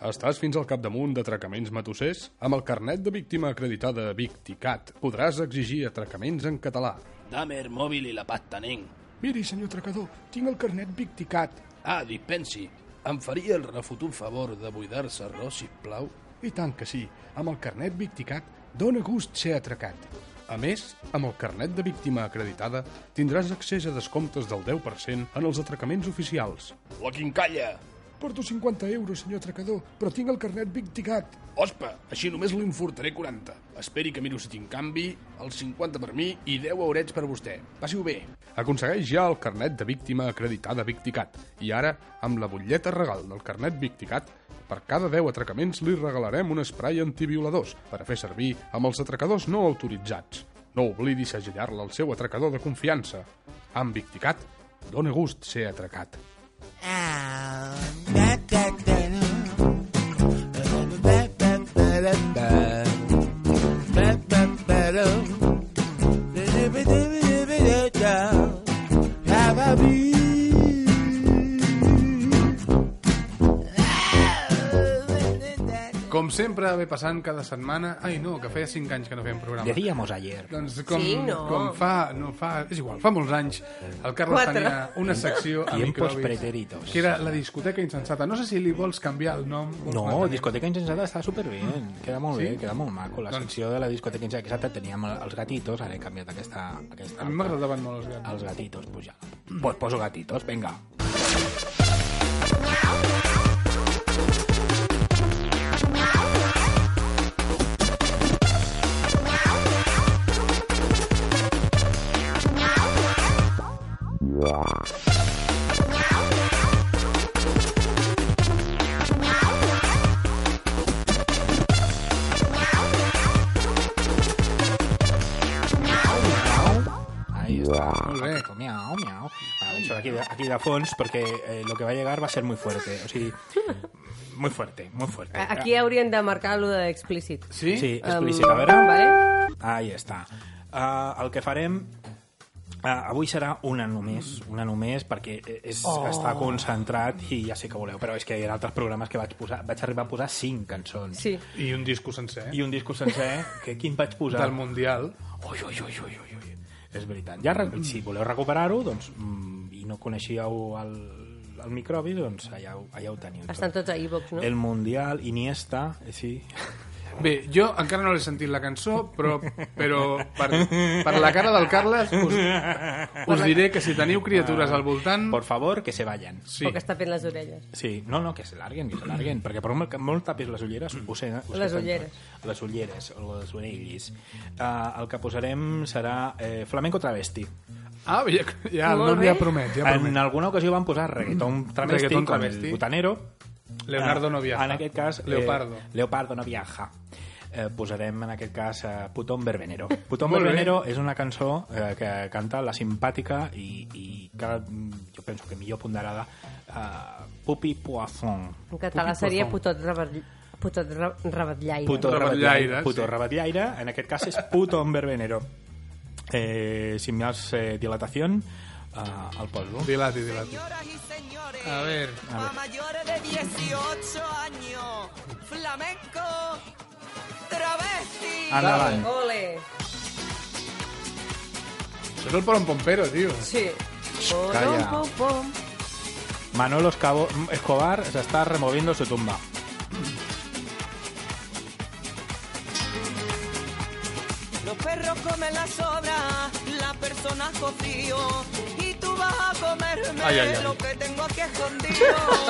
Estàs fins al capdamunt d'atracaments matossers? Amb el carnet de víctima acreditada Victicat podràs exigir atracaments en català. Dame el mòbil i la pasta, nen. Miri, senyor tracador, tinc el carnet victicat. Ah, dispensi. Em faria el refotut favor de buidar-se arròs, sisplau? I tant que sí, amb el carnet victicat dóna gust ser atracat. A més, amb el carnet de víctima acreditada tindràs accés a descomptes del 10% en els atracaments oficials. La quincalla! Porto 50 euros, senyor tracador, però tinc el carnet victicat. Ospa, així només li enfortaré 40. Esperi que miro si tinc canvi, el 50 per mi i 10 aurets per vostè. Passi-ho bé. Aconsegueix ja el carnet de víctima acreditada Victicat i ara, amb la butlleta regal del carnet Victicat, per cada 10 atracaments li regalarem un spray antivioladors per a fer servir amb els atracadors no autoritzats. No oblidi segellar-la al seu atracador de confiança. Amb Victicat, dóna gust ser atracat. Com sempre, ve passant cada setmana... Ai, no, que feia 5 anys que no fèiem programa. Diríamos ayer. Doncs com, Sí, no. com fa, no fa... És igual, fa molts anys el Carles Quatre. tenia una secció a Tiempos Microbis pretéritos. que era la discoteca insensata. No sé si li vols canviar el nom. vols No, mantenir- discoteca insensata està superbé, queda molt Sí? bé, queda molt maco. La Doncs- secció de la discoteca insensata teníem el- els gatitos, ara he canviat aquesta... aquesta A mi m'agradaven molt els gats. els gatitos, puja. Pues poso gatitos, venga. Ahí está. Molt bé. Gatito, miau, miau. Vale, això aquí Ah, de, aquí de fons, perquè eh, lo que va a llegar va a ser muy fuerte. O sigui, muy fuerte, muy fuerte. Eh, Aquí haurien de marcar lo d'explícit. Sí? Sí, Em, explícit. A veure... Vale? Ahí està. Uh, el que farem... Uh, avui serà una només, una només, perquè és, oh. està concentrat i ja sé que voleu, però és que hi ha altres programes que vaig posar, vaig arribar a posar cinc cançons. Sí. I un disco sencer I un disco sencer, eh, que quin vaig posar? del Mundial. Ui, ui, ui, ui, ui, ui. És veritat. Ja, re- si voleu recuperar-ho, doncs, mm, i no coneixíeu el, el microbi, doncs allà, ho- allà ho teniu. tot. Estan tots a iVox, no? El Mundial, Iniesta, eh, sí. Bé, jo encara no l'he sentit la cançó, però, però per, per la cara del Carles us, us diré que si teniu criatures al voltant... Por favor, que se vayan. Sí. O que es tapin les orelles. Sí, no, no, que se larguen, que se larguen, perquè per molt, que molt tapis les ulleres, ho sé, eh, ho sé Les tant. ulleres. Les ulleres, o les orellis. Uh, el que posarem serà eh, flamenco travesti. Ah, ja, ja el Molt nom bé. ja promet, ja en promet. alguna ocasió van posar reggaeton travesti, Reggaeton com travesti. el butanero. Leonardo Eh, no viaja. En aquest cas... eh, Leopardo. Leopardo no viaja. Eh, posarem en aquest cas eh, Putón Verbenero. Putón Molt bé. Verbenero és una cançó eh, que canta la simpàtica i, i cada, jo penso que millor ponderada eh, Pupi Poisson. En català seria putot rebell... Putot re- revetllaire. Puto Rabatllaire, rabatllaire. Puto sí. rabatllaire. En aquest cas és puto verbenero. Eh, sin más eh, dilatación, eh, al polvo. Dilati, dilati. Señoras y señores, A ver. a, mayores de 18 años, flamenco, travesti. Endavant. Ole! Això és el Polon Pompero, tio. Sí. calla. Pom, pom, pom. Manolo Escabo- Escobar se está removiendo su tumba. Los perros comen las sobras, las personas cofío. Y tú vas a comerme Ay, ay, ay. lo que tengo aquí escondido.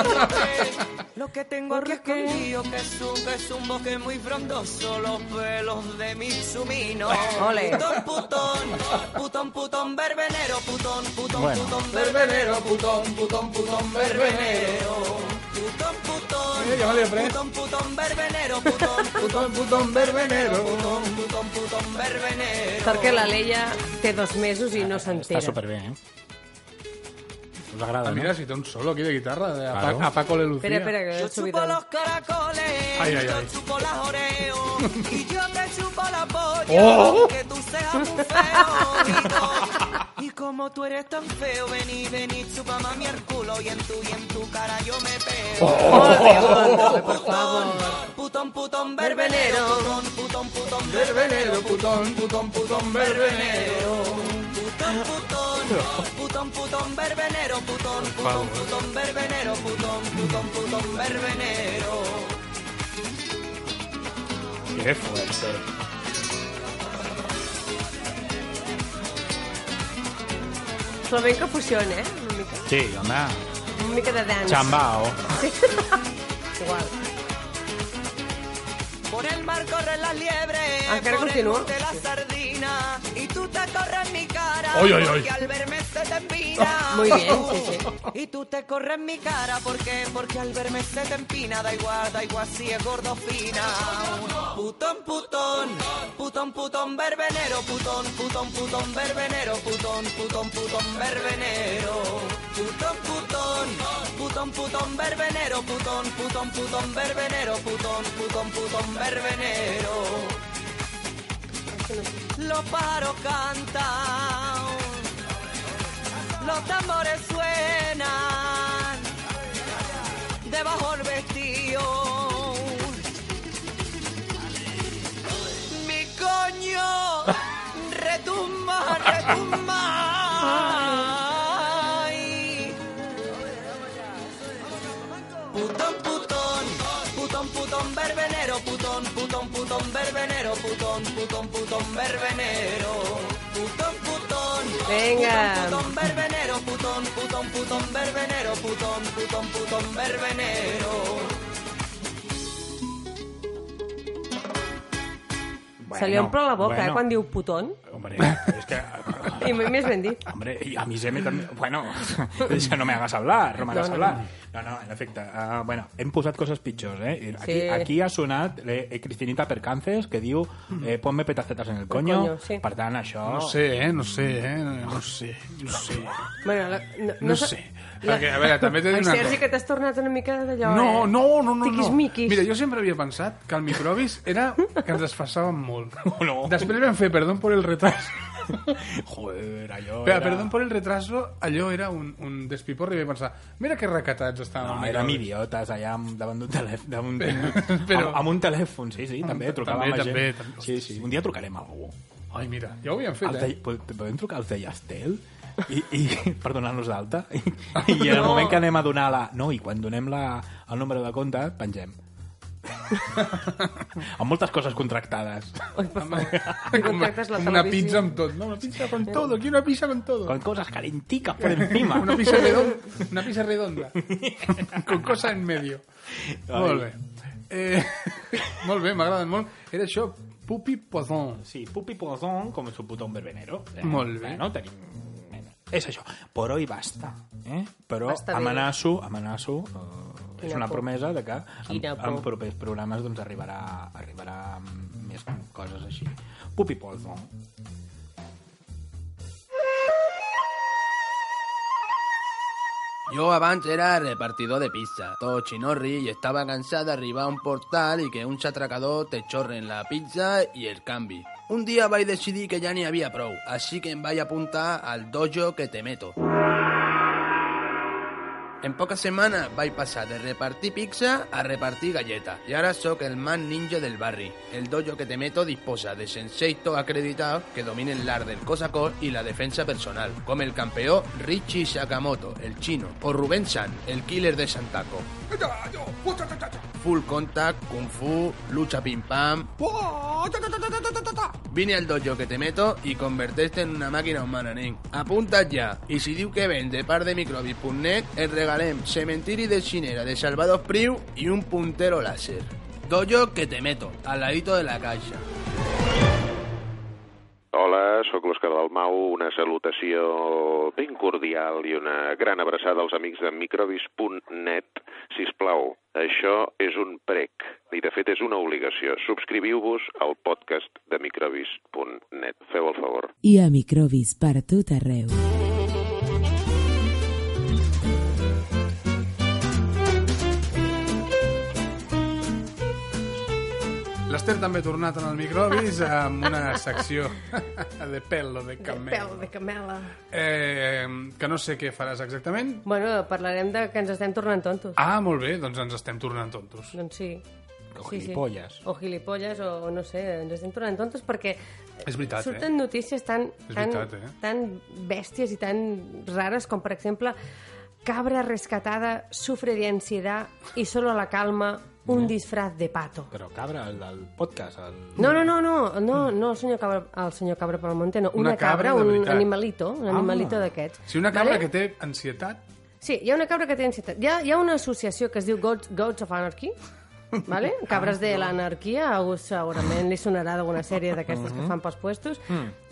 lo, que, lo que tengo aquí escondido, que es un, que es un bosque muy frondoso. Los pelos de mi sumino. Ole. Putón, putón, putón, putón, verbenero. Putón, putón, Bueno. putón, verbenero. Putón, putón, putón, verbenero. Putón, putón, Eh, llámale, Fred. putón, putón, verbenero. Putón, putón, putón verbenero. putón, putón, putón, verbenero. Perquè la Leia té dos mesos i no Está s'entera. súper bien, ¿eh? Os agrada, Ah, ¿no? mira, si té un solo aquí de guitarra de a, Claro. pa a Paco Le Lucía. Espera, espera, que Yo l'he chupo los subit. caracoles, Ay, ay, yo ay. chupo las oreo, y yo te chupo la polla, Oh. que tú seas muy feo, y yo- Y como tú eres tan feo, vení, vení, chupa mami el culo. Y en tu, y en tu cara yo me pego. Oh. por favor. Putón, putón, verbenero. Putón, putón, putón, verbenero. putón, putón, putón, verbenero. Putón, putón, putón, putón, verbenero. Putón, putón, putón, verbenero. Putón, putón, putón, verbenero. Qué fuerte. Flamenco fusión, eh? Una mica, Sí, home. una mica de dance. Chambao. Igual. Por el mar corren las liebres, Encara por el continua? monte la sardina, y tú te corres mi cara, Oi, oi, oi. porque al verme se te empina. Muy bien, sí, sí. Y tú te corres mi cara, porque porque al verme se te empina, da igual, da igual si es gordo o fina. Putón, putón, putón, putón, verbenero, putón, putón, putón, verbenero, putón, putón, putón, verbenero. Putón, putón, putón, putón, verbenero, putón, putón, putón, verbenero, putón, putón, putón, verbenero. Los pájaros cantan, los tambores suenan, debajo el vestido. Mi coño retumba, retumba. Ay. Putón, putón, putón, putón, verbenero, putón, putón, putón, verbenero, putón, putón, putón, verbenero, putón, putón, Venga. putón, putón, verbenero, putón, putón, putón, verbenero, putón, putón, putón, verbenero. Se li omple la boca, eh, bueno. quan diu putón. Hombre, es que... I més ben dit. Hombre, y a mí se me también... Bueno, ya no me hagas hablar, no me hagas No, no, hablar. No, no, en efecte. Uh, bueno, hem posat coses pitjors, eh? Aquí, Sí. aquí ha sonat eh, eh, Cristinita Percances, que diu eh, ponme petacetes en el coño. coño, sí. Per tant, això... No sé, eh? No sé, eh? No sé, no sé. Bueno, la, no, No sa- sé. Perquè, a veure, també t'he de En dir una Sergi, cosa. que t'has tornat una mica d'allò, No, eh? no, no, no. no. Tiquis-miquis. Mira, jo sempre havia pensat que el microbis era que ens desfassàvem molt. No. Després vam fer Perdón por el retraso. Joder, allò Però, era... Perdón por el retraso, allò era un, un despiporri. Vaig pensar, mira que recatats estàvem. No, amb érem microbis. idiotes allà amb, davant d'un telèfon. Amb, però- amb, amb un telèfon, sí, sí, també Amb- també, trucàvem a gent. també, també. Sí, sí. Un dia trucarem a algú. Ai, mira, ja ho havíem fet, El de, eh? po- podem trucar als de Yastel? I, i per donar-nos d'alta? I, I en el moment que anem a donar la... No, i quan donem la, el número de compte, pengem. amb moltes coses contractades. Oi, per favor. Com, contractes la com una televisió. pizza amb tot. No, una pizza con todo, aquí una pizza con todo. Con coses calenticas por encima. Una pizza redonda. Una pizza redonda. Con cosa en medio. Ai. Molt bé. Eh, molt bé, m'agraden molt. Era això, Pupi Poisson. Sí, Pupi Pozón, com su puto un verbenero. Eh, Molt bé. Bueno, tenim... És això. Por hoy basta. Eh? Però Basta bé. amenaço, amenaço, eh, és Quina una por. promesa de que en, Quina por. en propers programes doncs, arribarà, arribarà més coses així. Pupi Pozón. Yo abans era repartidor de pizza, todo chinorri, y estaba cansada de arribar a un portal y que un chatracador te chorren la pizza y el cambi. Un día vais decidí que ya ni había pro, así que vais a apuntar al dojo que te meto. En pocas semanas vais a pasar de repartir pizza a repartir galletas. Y ahora soy el más ninja del barrio. El dojo que te meto disposa de senseis todos acreditados que dominen el arte del cosacor y la defensa personal, como el campeón Richie Sakamoto, el chino, o Rubén San, el killer de Santaco. Full contact, kung fu, lucha pim pam. Vine al dojo que te meto y convertiste en una máquina humana, nen. Apunta ya. Y si diu que vende par de microbis.net, el regalem cementiri de chinera de Salvados Priu y un puntero láser. Dojo que te meto, al ladito de la caixa. Hola, sóc l'Òscar Dalmau, una salutació ben cordial i una gran abraçada als amics de microbis.net. Si us plau, això és un prec i de fet és una obligació. Subscriviu-vos al podcast de microbis.net. Feu el favor. I a microbis per tot arreu. L'Ester també ha tornat en el microbis amb una secció de pèl o de camel. Pèl de camela. Eh, que no sé què faràs exactament. Bueno, parlarem de que ens estem tornant tontos. Ah, molt bé, doncs ens estem tornant tontos. Doncs sí. O Sí, sí. gilipolles. O gilipolles, o, o no sé, ens estem tornant tontos perquè És veritat, eh? surten notícies tan, És tan, veritat, eh? tan bèsties i tan rares com, per exemple, cabra rescatada sufre de ansiedad y solo la calma un disfraz de pato. Però cabra, el del podcast, el... No, no, no, no, no, no el senyor Cabra, el senyor Cabra Palmonte, no. Una, Una cabra de un veritat. animalito, un Ah. animalito d'aquests. Si una cabra que té ansietat... Sí, hi ha una cabra que té ansietat. Hi ha, hi ha una associació que es diu Goats, Goats of Anarchy, vale? cabres de l'anarquia, a algú segurament li sonarà d'alguna sèrie d'aquestes que fan pels puestos,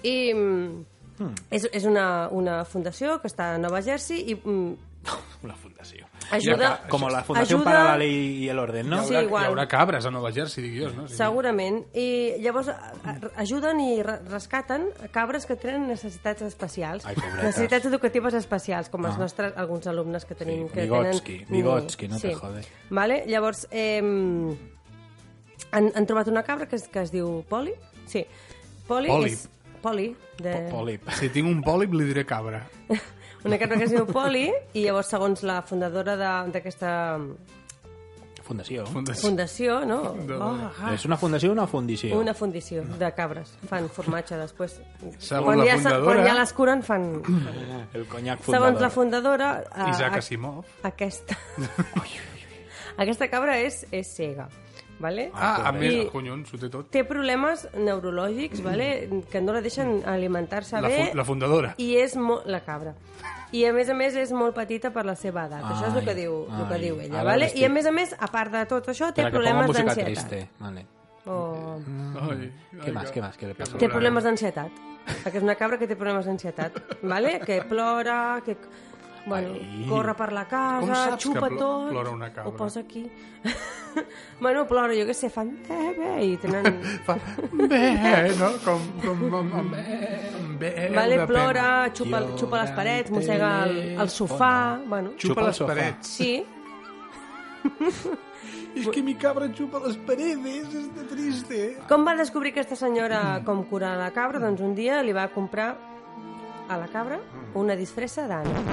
i mm, és, és una, una fundació que està a Nova Jersey i mm, Una fundació. Ajuda- Com la Fundació Ajuda- para la Ley y el Orden, no? Sí, Hi haurà- igual. Hi haurà cabres a Nova Jersey, digui jo, no? Sí. segurament, i llavors a- a- ajuden i re- rescaten cabres que tenen necessitats especials, Ai, pobretes. Ah. necessitats educatives especials, com els nostres, alguns alumnes que tenim. Sí, que Vygotsky, tenen... Vygotsky, no sí. te jode. Vale? Llavors, eh, han, han trobat una cabra que es, que es diu Poli. Sí. Poli Pòlip. és... Poli. De... Pòlip. Si tinc un pòlip, li diré cabra. Una cabra que es diu Poli i llavors, segons la fundadora de- d'aquesta Fundació. Fundació. fundació, no? De- Oh, ah. És una fundació o una fundició? Una fundició de cabres. Fan formatge després. Segons quan, la ja, se- fundadora- quan ja les curen, fan... El conyac Segons la fundador. fundadora... eh, Isaac a- Asimov. Aquesta... aquesta cabra és, és cega. Vale? Ah, a I- més, collons, ho té tot. té problemes neurològics, vale? que no la deixen alimentar-se La, bé fu- la fundadora. i és mo- la cabra. I a més a més és molt petita per la seva edat. Ai, això és el que Ai, diu, el que ai. diu ella, Ara vale? l'estic- I a més a més, a part de tot això, té Espera, que ponga problemes música d'ansietat. triste. Vale. Oh. Ai, ¿Qué más? ¿Qué más? ¿Qué le pasa? Té problemes d'ansietat. Perquè és una cabra que té problemes d'ansietat, vale? Que plora, que bueno, Ai. corre per la Com casa, saps xupa que plo- tot, plora una cabra? ho posa aquí. bueno, plora, jo què sé, fan... Eh, bé, i tenen... Fa... Bé, no? Com... com, com, com bé, Vale, plora, xupa, xupa les parets, mossega el, el sofà... Bueno, Xupa el les sofà. parets. sí, És que mi cabra xupa les paredes, és de triste. Com va descobrir aquesta senyora com curar la cabra? Doncs un dia li va comprar a la cabra Mm. una disfressa d'ànec.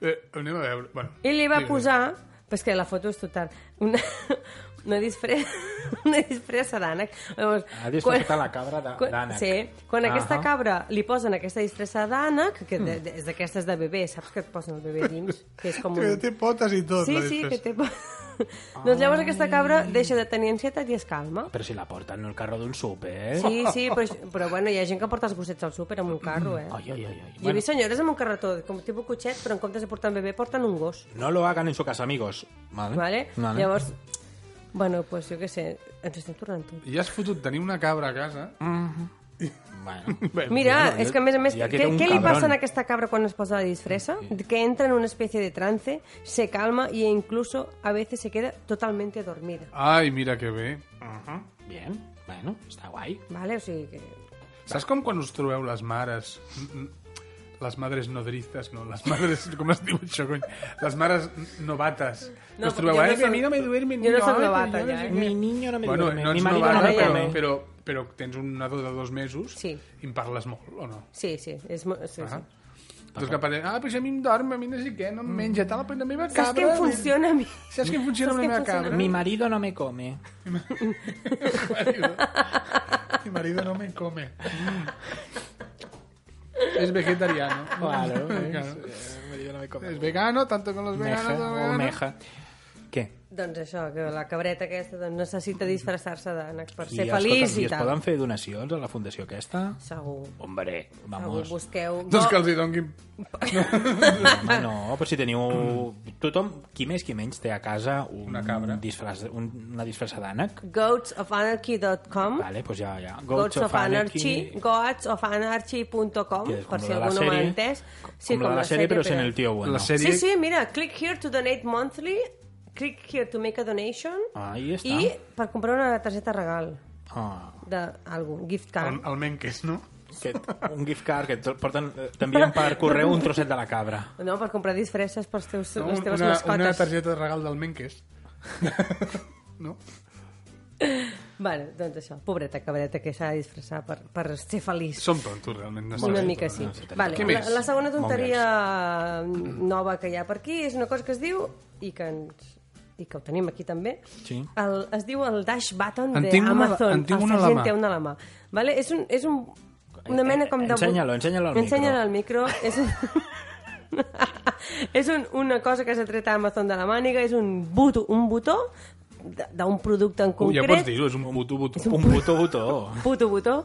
Eh, anem a veure. Bueno, I li va Digues. posar... Però és que la foto és total. Una, una, disfressa, una disfressa d'ànec. Llavors, Ha disfressat la cabra Ah, de- quan- d'ànec. Sí. Quan aquesta Ahà. Mm. cabra li posen aquesta disfressa d'ànec, que de, de, és d'aquestes de bebè, saps que et posen el bebè dins? Que és com Que un... té potes i tot. Sí, la sí, que disfressa. té... po- doncs llavors aquesta cabra deixa de tenir ansietat i es calma. Però si la porten en el carro d'un súper. Sí, sí, però, això- però bueno, hi ha gent que porta els gossets al súper amb un carro, eh? Ai, ai, ai, ai. Jo he vist senyores amb un carretó, com tipus cotxet, però en comptes de portar un bebè porten un gos, No lo hagan en su casa, amigos. Vale. vale? Eh? Vale. Llavors, bueno, pues jo què sé, ens estem tornant tot. Ja has fotut tenir una cabra a casa. Bueno. Bé, Eh, Mira, Bueno, és que a més a més, ja que què, era un què li passa cabrón. a aquesta cabra quan es posa la disfressa? Que entra en una especie de trance, se calma y incluso a veces se queda totalmente dormida. Ai, mira que bé. Bien. Bueno, está guay. Vale? O sigui que... Saps com quan us trobeu les mares... mm, mm, Les madres nodrizas, no? Les madres... Com es diu això, cony? Les mares novates. que No, us trobeu, jo no eh, soc- a mi no me duermen. jo no soc ay, novata, yo no ja, sé eh. qué". Mi niño no me bueno, duerme, no mi ets marido novata, no me però- duerme. eh? però, però tens un nadó de dos mesos Sí. i en parles molt, o no? Sí, sí, és... mo- Sí, sí. Doncs que parles, ah, però si a mi em dorm, a mi no sé què, no em menja, tal, però la meva cabra... Mm. Saps què em funciona a mi? Saps què em funciona amb la Saps què em meva funciona? cabra? Mi marido no me come. marido. Mi marido no me come. Mm. Es vegetariano. Claro, eh, Claro. Es vegano, tanto con los veganos. Meja los o veganos. meja. Què? Doncs això, que la cabreta aquesta doncs, necessita disfressar-se d'ànecs per I, ser escolta'm, feliç I i es tal. poden fer donacions a la fundació aquesta? Segur. Hombre, Segur, vamos. busqueu... Doncs que els hi donguin... Home, no, però si teniu... Tothom, qui més qui menys, té a casa un Una cabra. Disfraç, un, una disfressa d'ànec. goatsofanarchy.com Vale, doncs ja, ja. Goats of Anarchy, goatsofanarchy.com, Que és com per la si de la algú no ho sèrie. ha entès. com la de la sèrie, però sent el tio bueno. La sèrie... Sí, sí, mira, click here to donate monthly, click here to make a donation, Ahí està. i per comprar una targeta regal Ah. d'algú, un gift El, card. el menques, no? Que, un gift card que et porten, eh, t'envien per correu un trosset de la cabra. No, per comprar disfresses per teus, No, les teves una, mascotes. una targeta de regal del menques. no? Bueno, doncs això, pobreta cabreta que s'ha de disfressar per, per ser feliç. Som tontos, realment. No Una sabem. mica sí. No, sí, tenim Vale, tot. Què la, més? la segona tonteria mm, nova que hi ha per aquí és una cosa que es diu, i que, ens, i que ho tenim aquí també, Sí. el, es diu el Dash Button En tinc una- d'Amazon. en tinc una a la mà. Té una a la mà. Vale? És, un, és un, una mena com de... bot- Ensenya-lo, ensenya-lo al Ensenya-lo al micro. És un... és un, una cosa que s'ha tret a Amazon de la màniga, és un, butó, un botó d- d'un producte en Ui, concret. Ja pots dir-ho, és un puto botó. un Un botó, botó. puto botó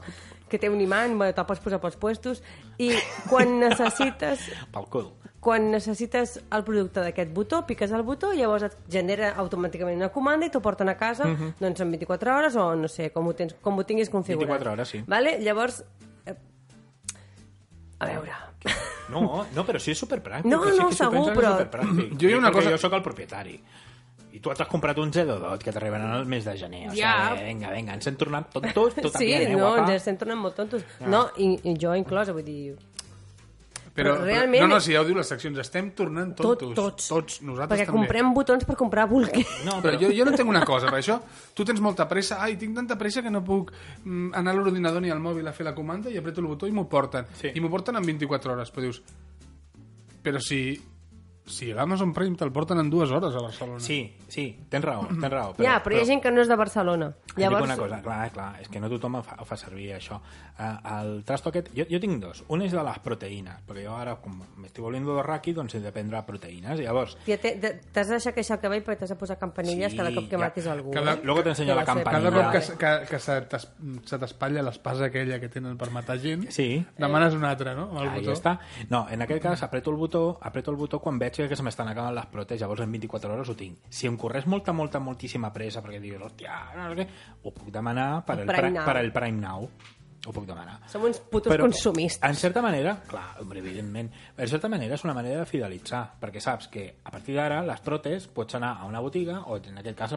que té un imant, bueno, te'l pots posar pels puestos i quan necessites Pel cul. quan necessites el producte d'aquest botó, piques el botó i llavors et genera automàticament una comanda i t'ho porten a casa Mhm. doncs en 24 hores o no sé, com ho, tens, com ho tinguis configurat. 24 hores, sí. Vale? Llavors, eh, a veure... No, no, però sí és superpràctic. No, sí no, que si ho segur, penses, però- És superpràctic. Jo hi ha una Perquè cosa- Jo sóc el propietari. I tu t'has comprat un Zedodot que t'arribaran el mes de gener. O Ja. sigui, vinga, vinga, ens hem tornat tontos, tu sí, també, eh, no, guapa? Ah. ens estem tornant molt tontos. No, i, i jo inclosa, vull dir... Però, Però realment... realment- Però, no, no, si ja ho diu les seccions, estem tornant Tot- tontos. tots. Tots, nosaltres Perquè també. comprem botons per comprar bolquers. No, però... jo, jo no entenc una cosa, per això tu tens molta pressa, ai, tinc tanta pressa que no puc mm, anar a l'ordinador ni al mòbil a fer la comanda i apreto el botó i m'ho porten. Sí. I m'ho porten en 24 hores, però dius... Però si, si l'Amazon Prime te'l porten en dues hores a Barcelona. Sí, sí, tens raó, tens raó. ja, però, hi ha gent que no és de Barcelona. Llavors... Dic una cosa, clar, clar, és que no tothom ho fa, ho fa servir, això. Uh, el trasto aquest, jo, jo tinc dos. Un és de les proteïnes, perquè jo ara, com m'estic volviendo de raqui, doncs he de prendre proteïnes. Llavors, Tia, te- te- T'has de deixar queixar el cabell perquè t'has de posar campanilles Sí, cada cop que ja. matis algú. Cada- eh? Luego t'ensenyo Que la va ser- Cada cop eh? que, que, que se t'es- se t'espatlla l'espasa aquella que tenen per matar gent, Sí. demanes una altra, no? Amb el Ahí botó. està. No, en aquest cas apreto el botó, apreto el botó quan veig que se m'estan acabant les protes, llavors en 24 hores ho tinc. Si em corres molta, molta, moltíssima pressa perquè digues, hòstia, no sé què, ho puc demanar per El el, Prime Prime Now. per el Prime Now. Ho puc demanar. Som uns putos Però... consumistes. En certa manera, clar, hombre, evidentment, en certa manera és una manera de fidelitzar, perquè saps que a partir d'ara les protes pots anar a una botiga o en aquest cas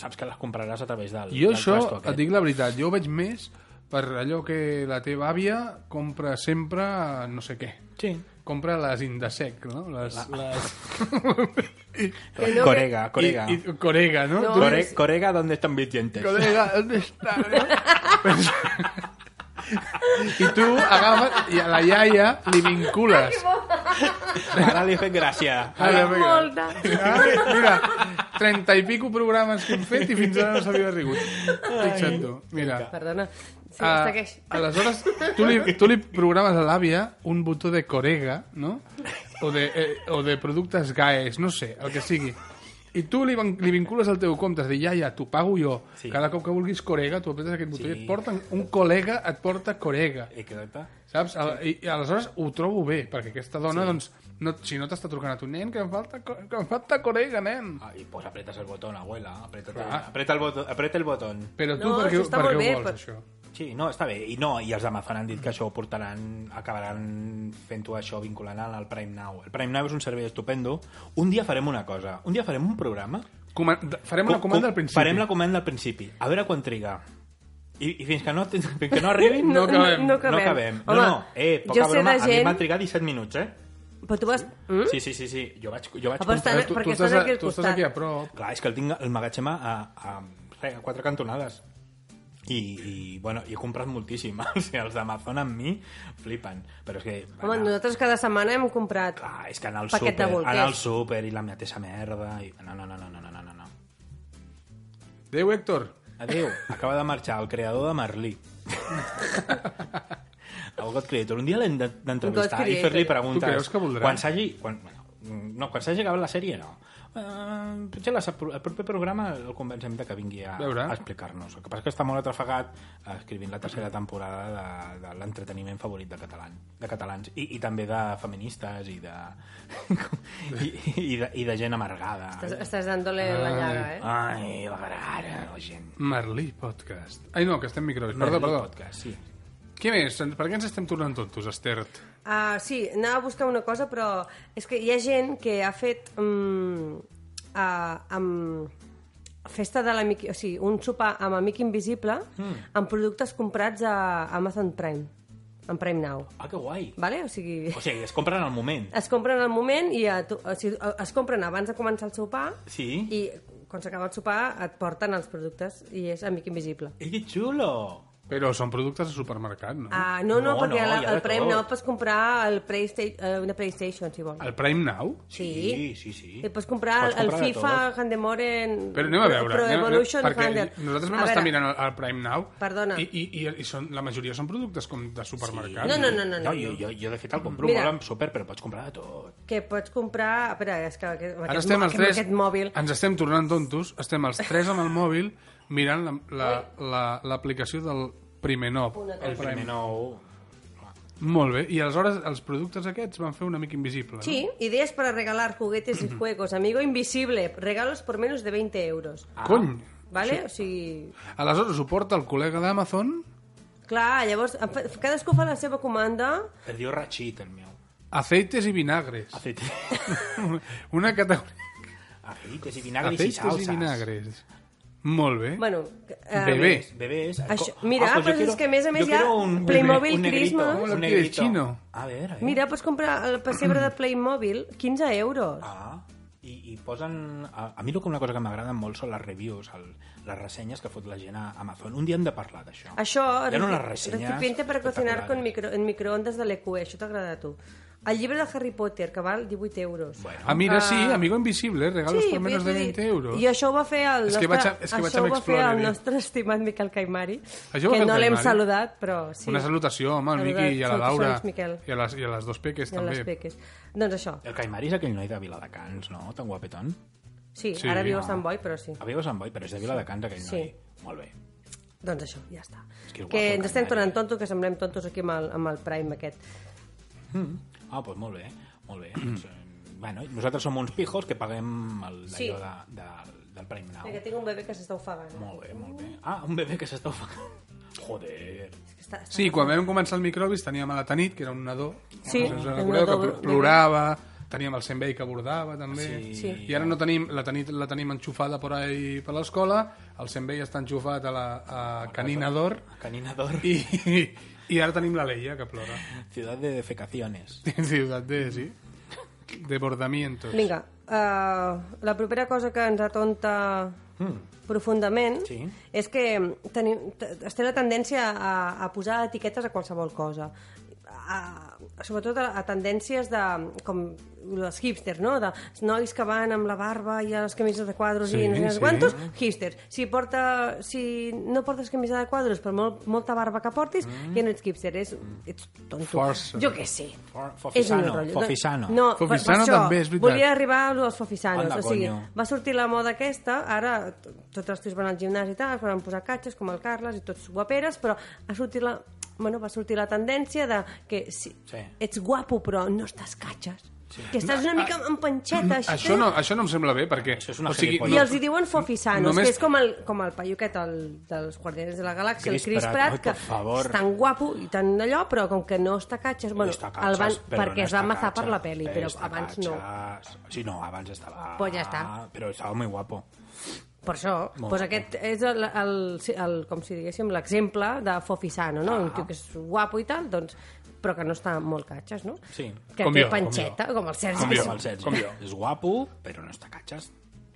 saps que les compraràs a través del Jo del això, trasto aquest. et dic la veritat, jo ho veig més per allò que la teva àvia compra sempre no sé què. Sí. Compra les Indesec, no? Les, les... Que no, Corega, que- corega. I, i, corega, no? No, Tu- Core, Corega, ¿dónde están mis dientes? Corega, ¿dónde está? I tu agafes i a la iaia li vincules. Ara li he fet gràcia. Ara, vinga. Molta. Ah, mira, 30 i pico programes que hem fet i fins ara no s'havia rigut. Fixa't tu. Mira. Perdona. Sí, Ah, segueix. Aleshores, tu li, tu li programes a l'àvia un botó de corega, no? O de, eh, o de productes gaes, no sé, el que sigui. I tu li, van- li vincules al teu compte, és a dir, ja, ja, t'ho pago jo. Sí. Cada cop que vulguis corega, tu apretes aquest botó sí. i et porten, un col·lega et porta corega. Exacte. Saps? Al- I, i aleshores ho trobo bé, perquè aquesta dona, sí. doncs, no, si no t'està trucant a tu, nen, que em falta, co- que em falta corega, nen. Ai, Ah, pues apretes el botón, abuela. Apretes, Clar. apreta, el botó, apreta el botón. Però tu No, per què, això està per molt què bé, ho vols, però- això? Sí, no, està bé. I no, i els d'Amazon han dit que això ho portaran, acabaran fent-ho això, vinculant al Prime Now. El Prime Now és un servei estupendo. Un dia farem una cosa. Un dia farem un programa. Coman farem una Com- comanda al com- principi. Farem la comanda al principi. A veure quan triga. I, i fins que no, fins que no arribi, No acabem. No, no no acabem. acabem. No, Home, no, eh, poca jo sé broma, de a mi gent... m'ha trigat 17 minuts, eh? Però tu vas... Mm? Sí, sí, sí, sí. Jo vaig, jo vaig Ah, però està- comprar- perquè estàs, estàs aquí al tu estàs costat. aquí a prop. Clar, és que el tinc el magatzem a, a, a, a quatre cantonades. I, i, bueno, i he comprat moltíssim. O sigui, els d'Amazon amb mi flipen. Però és que... Home, anar- nosaltres cada setmana hem comprat... Clar, és que anar al Paquet de súper, bolquers. anar al súper i la mateixa merda... I... No, no, no, no, no, no, no, no. Adéu, Héctor. Adéu, acaba de marxar el creador de Merlí. el God Creator. Un dia l'hem de- God d'entrevistar i Creator. fer-li preguntes. Tu creus que voldrà? Quan s'hagi... Quan, bueno, no, quan s'hagi acabat la sèrie, no. Uh, potser la, el proper programa el convencem de que vingui a, Veure. a explicar-nos. El que passa és que està molt atrafegat eh, escrivint la tercera temporada de, de l'entreteniment favorit de, catalan, de catalans i, i també de feministes i de, i, i, de, i de gent amargada. Estàs, estàs dándole la llaga, eh? Ai, la gara, la gent. Merlí Podcast. Ai, no, que estem micros. Perdó, Merlí perdó. Podcast, sí. Què més? Per què ens estem tornant tontos, Estert? Ah, sí, anava a buscar una cosa, però és que hi ha gent que ha fet mm, ah, amb festa de l'amic... O sigui, un sopar amb Amic Invisible Hmm. mm. amb productes comprats a Amazon Prime, en Prime Now. Ah, que guai. Vale? O sigui... O sigui, es compren al moment. Es compren al moment i a tu, o sigui, es compren abans de començar el sopar Sí. i quan s'acaba el sopar et porten els productes i és amic invisible. Eh, que xulo! Però són productes de supermercat, no? Ah, no, No, no, perquè no, la, hi ha de el tot. Prime Now pots comprar el Playsta- eh, una PlayStation, si vols. El Prime Now? Sí. sí, sí. I pots comprar Pots el, el comprar de FIFA, tot. Handemoren... Però anem a veure. Pro anem a- Evolution perquè Handel. Nosaltres A vam estar veure, mirant el, el Prime Now Perdona. i, i, i, i són, la majoria són productes com de supermercat. No, no, no, no, no. jo, jo, jo, de fet, el compro Mira. molt amb súper, però pots comprar de tot. Que pots comprar... Espera, és que aquest, amb Ara aquest, estem mo- els aquest, tres, aquest mòbil... ens estem tornant tontos, estem els tres amb el mòbil mirant l'aplicació la, la, la, l'aplicació del primer nou. El primer nou... Molt bé, i aleshores els productes aquests van fer una mica invisible. Sí, ideas para regalar juguetes y juegos. Amigo invisible, regalos por menos de 20 euros. No? Cony! ¿Vale? O sigui... Aleshores ho porta el col·lega d'Amazon Clar, llavors em fa- cadascú fa la seva comanda. Es diu Rachid, el meu. aceites i vinagres. Aceite. Una categoria... Aceites i vinagres i Aceites salses. i vinagres. Molt bé. Bueno, eh, Bebé. Bebés. Això- mira, però és que a més a més Ah, yo hi ha quiero un, Playmobil un negrito, Christmas. ¿Cómo lo un quieres, negrito. chino? A ver, a ver. mira, pots comprar el pessebre de Playmobil, 15 euros. Ah, i, i posen... A, a mi el que- una cosa que m'agrada molt són les reviews, el, les ressenyes que fot la gent a Amazon. Un dia hem de parlar d'això. Això, Hi ha unes reci- ressenyes eh? recipiente para cocinar espectaculars. con micro, en microondas de l'EQ, això t'agrada a tu. El llibre de Harry Potter, que val 18 euros. Bueno. Ah, mira, sí, Ah. Amigo Invisible, eh, regalos por menos de vull dir- 20 euros. I això ho va fer el És nostre, que vaig a- és que vaig això amb ho va fer Explorer, el eh? nostre estimat Miquel Caimari, Això ho va que fer no el l'hem Caimari. saludat, però sí. Una salutació, home, al Saludat- Miqui i a la Laura. salutacions, Miquel. I a les, I a les dos peques, I a les també. peques. Doncs això, El Caimari és aquell noi de Viladecans, no? Tan guapetón. sí, Sí, ara viu a no. Sant Boi, però sí. A Viu a Sant Boi, però és de Viladecans aquell Sí. noi. Molt bé. Doncs això, ja està. És que és que guapo, ens estem Caimari. tornant tontos, que semblem tontos aquí amb el, amb el Prime aquest. Ah, doncs molt bé, molt bé. doncs, eh, bueno, nosaltres som uns pijos que paguem el, Sí. allò de, de, del Prime Now. Que tinc un bebè que s'està ofegant. eh? Molt bé, molt bé. Ah, un bebè que s'està ofegant. Joder. És que Està, està... Sí, quan vam començar el microbis teníem a la Tanit, que era un nadó, Sí, us en el recordeu, nadó que pl- bebè. plorava, teníem el Senbei que abordava, també. Sí. I ara no tenim, la Tanit la tenim enxufada per, ahí, per l'escola, el Senbei està enxufat a la a Canina d'Or, Canina d'or. i, i ara tenim la Leia, que plora. Ciudad de defecaciones. Ciutat de, sí, desbordamientos. Vinga, uh, la propera cosa que ens atonta Hmm. mm. profundament Sí. és que tenim, t- es té la tendència a, a posar etiquetes a qualsevol cosa a, sobretot a, a tendències de, com els hipsters, no? De nois que van amb la barba i les camises de quadros Sí, i no sé sí. sí. quantos, hipsters. Si, porta, si no portes camisa de quadros però molt, molta barba que portis, mm. ja no ets hipster, és, ets tonto. Força. Jo què sé. For- És un Fofisano. rotllo. Fofisano. No, per- Fofisano per això, també, és veritat. Volia arribar als fofisanos. Anda, o sigui, coño. va sortir la moda aquesta, ara t- tots els tios van al gimnàs i tal, es van posar catxes com el Carles i tots guaperes, però ha sortit la... Bueno, va sortir la tendència de que si Sí. ets guapo però no estàs catxes, que estàs una mica en panxeta, així, Això no, això no em sembla bé, perquè... Això és una i els hi diuen fofisanos, Només- només... que és com el, com el paio aquest el, dels Guardianes de la Galàxia, Chris el Chris Pratt, Pratt, oi, que per favor. és tan guapo i tan allò, però com que no està catxes, bueno, Està el van, catxes, però perquè no es va està matar per catxes. la peli, però Està abans no. catxes. Sí, no, abans estava... Pues ja està. Però estava molt guapo. Per això, doncs aquest és el, el, el, com si diguéssim l'exemple de Fofisano, no? Un tio que és guapo i tal, doncs, però que no està molt catxes, no? Sí. Que Com jo, té com panxeta, com, el Sergi. Com que és- jo, el Sergi. Com jo. És guapo, però no està catxes.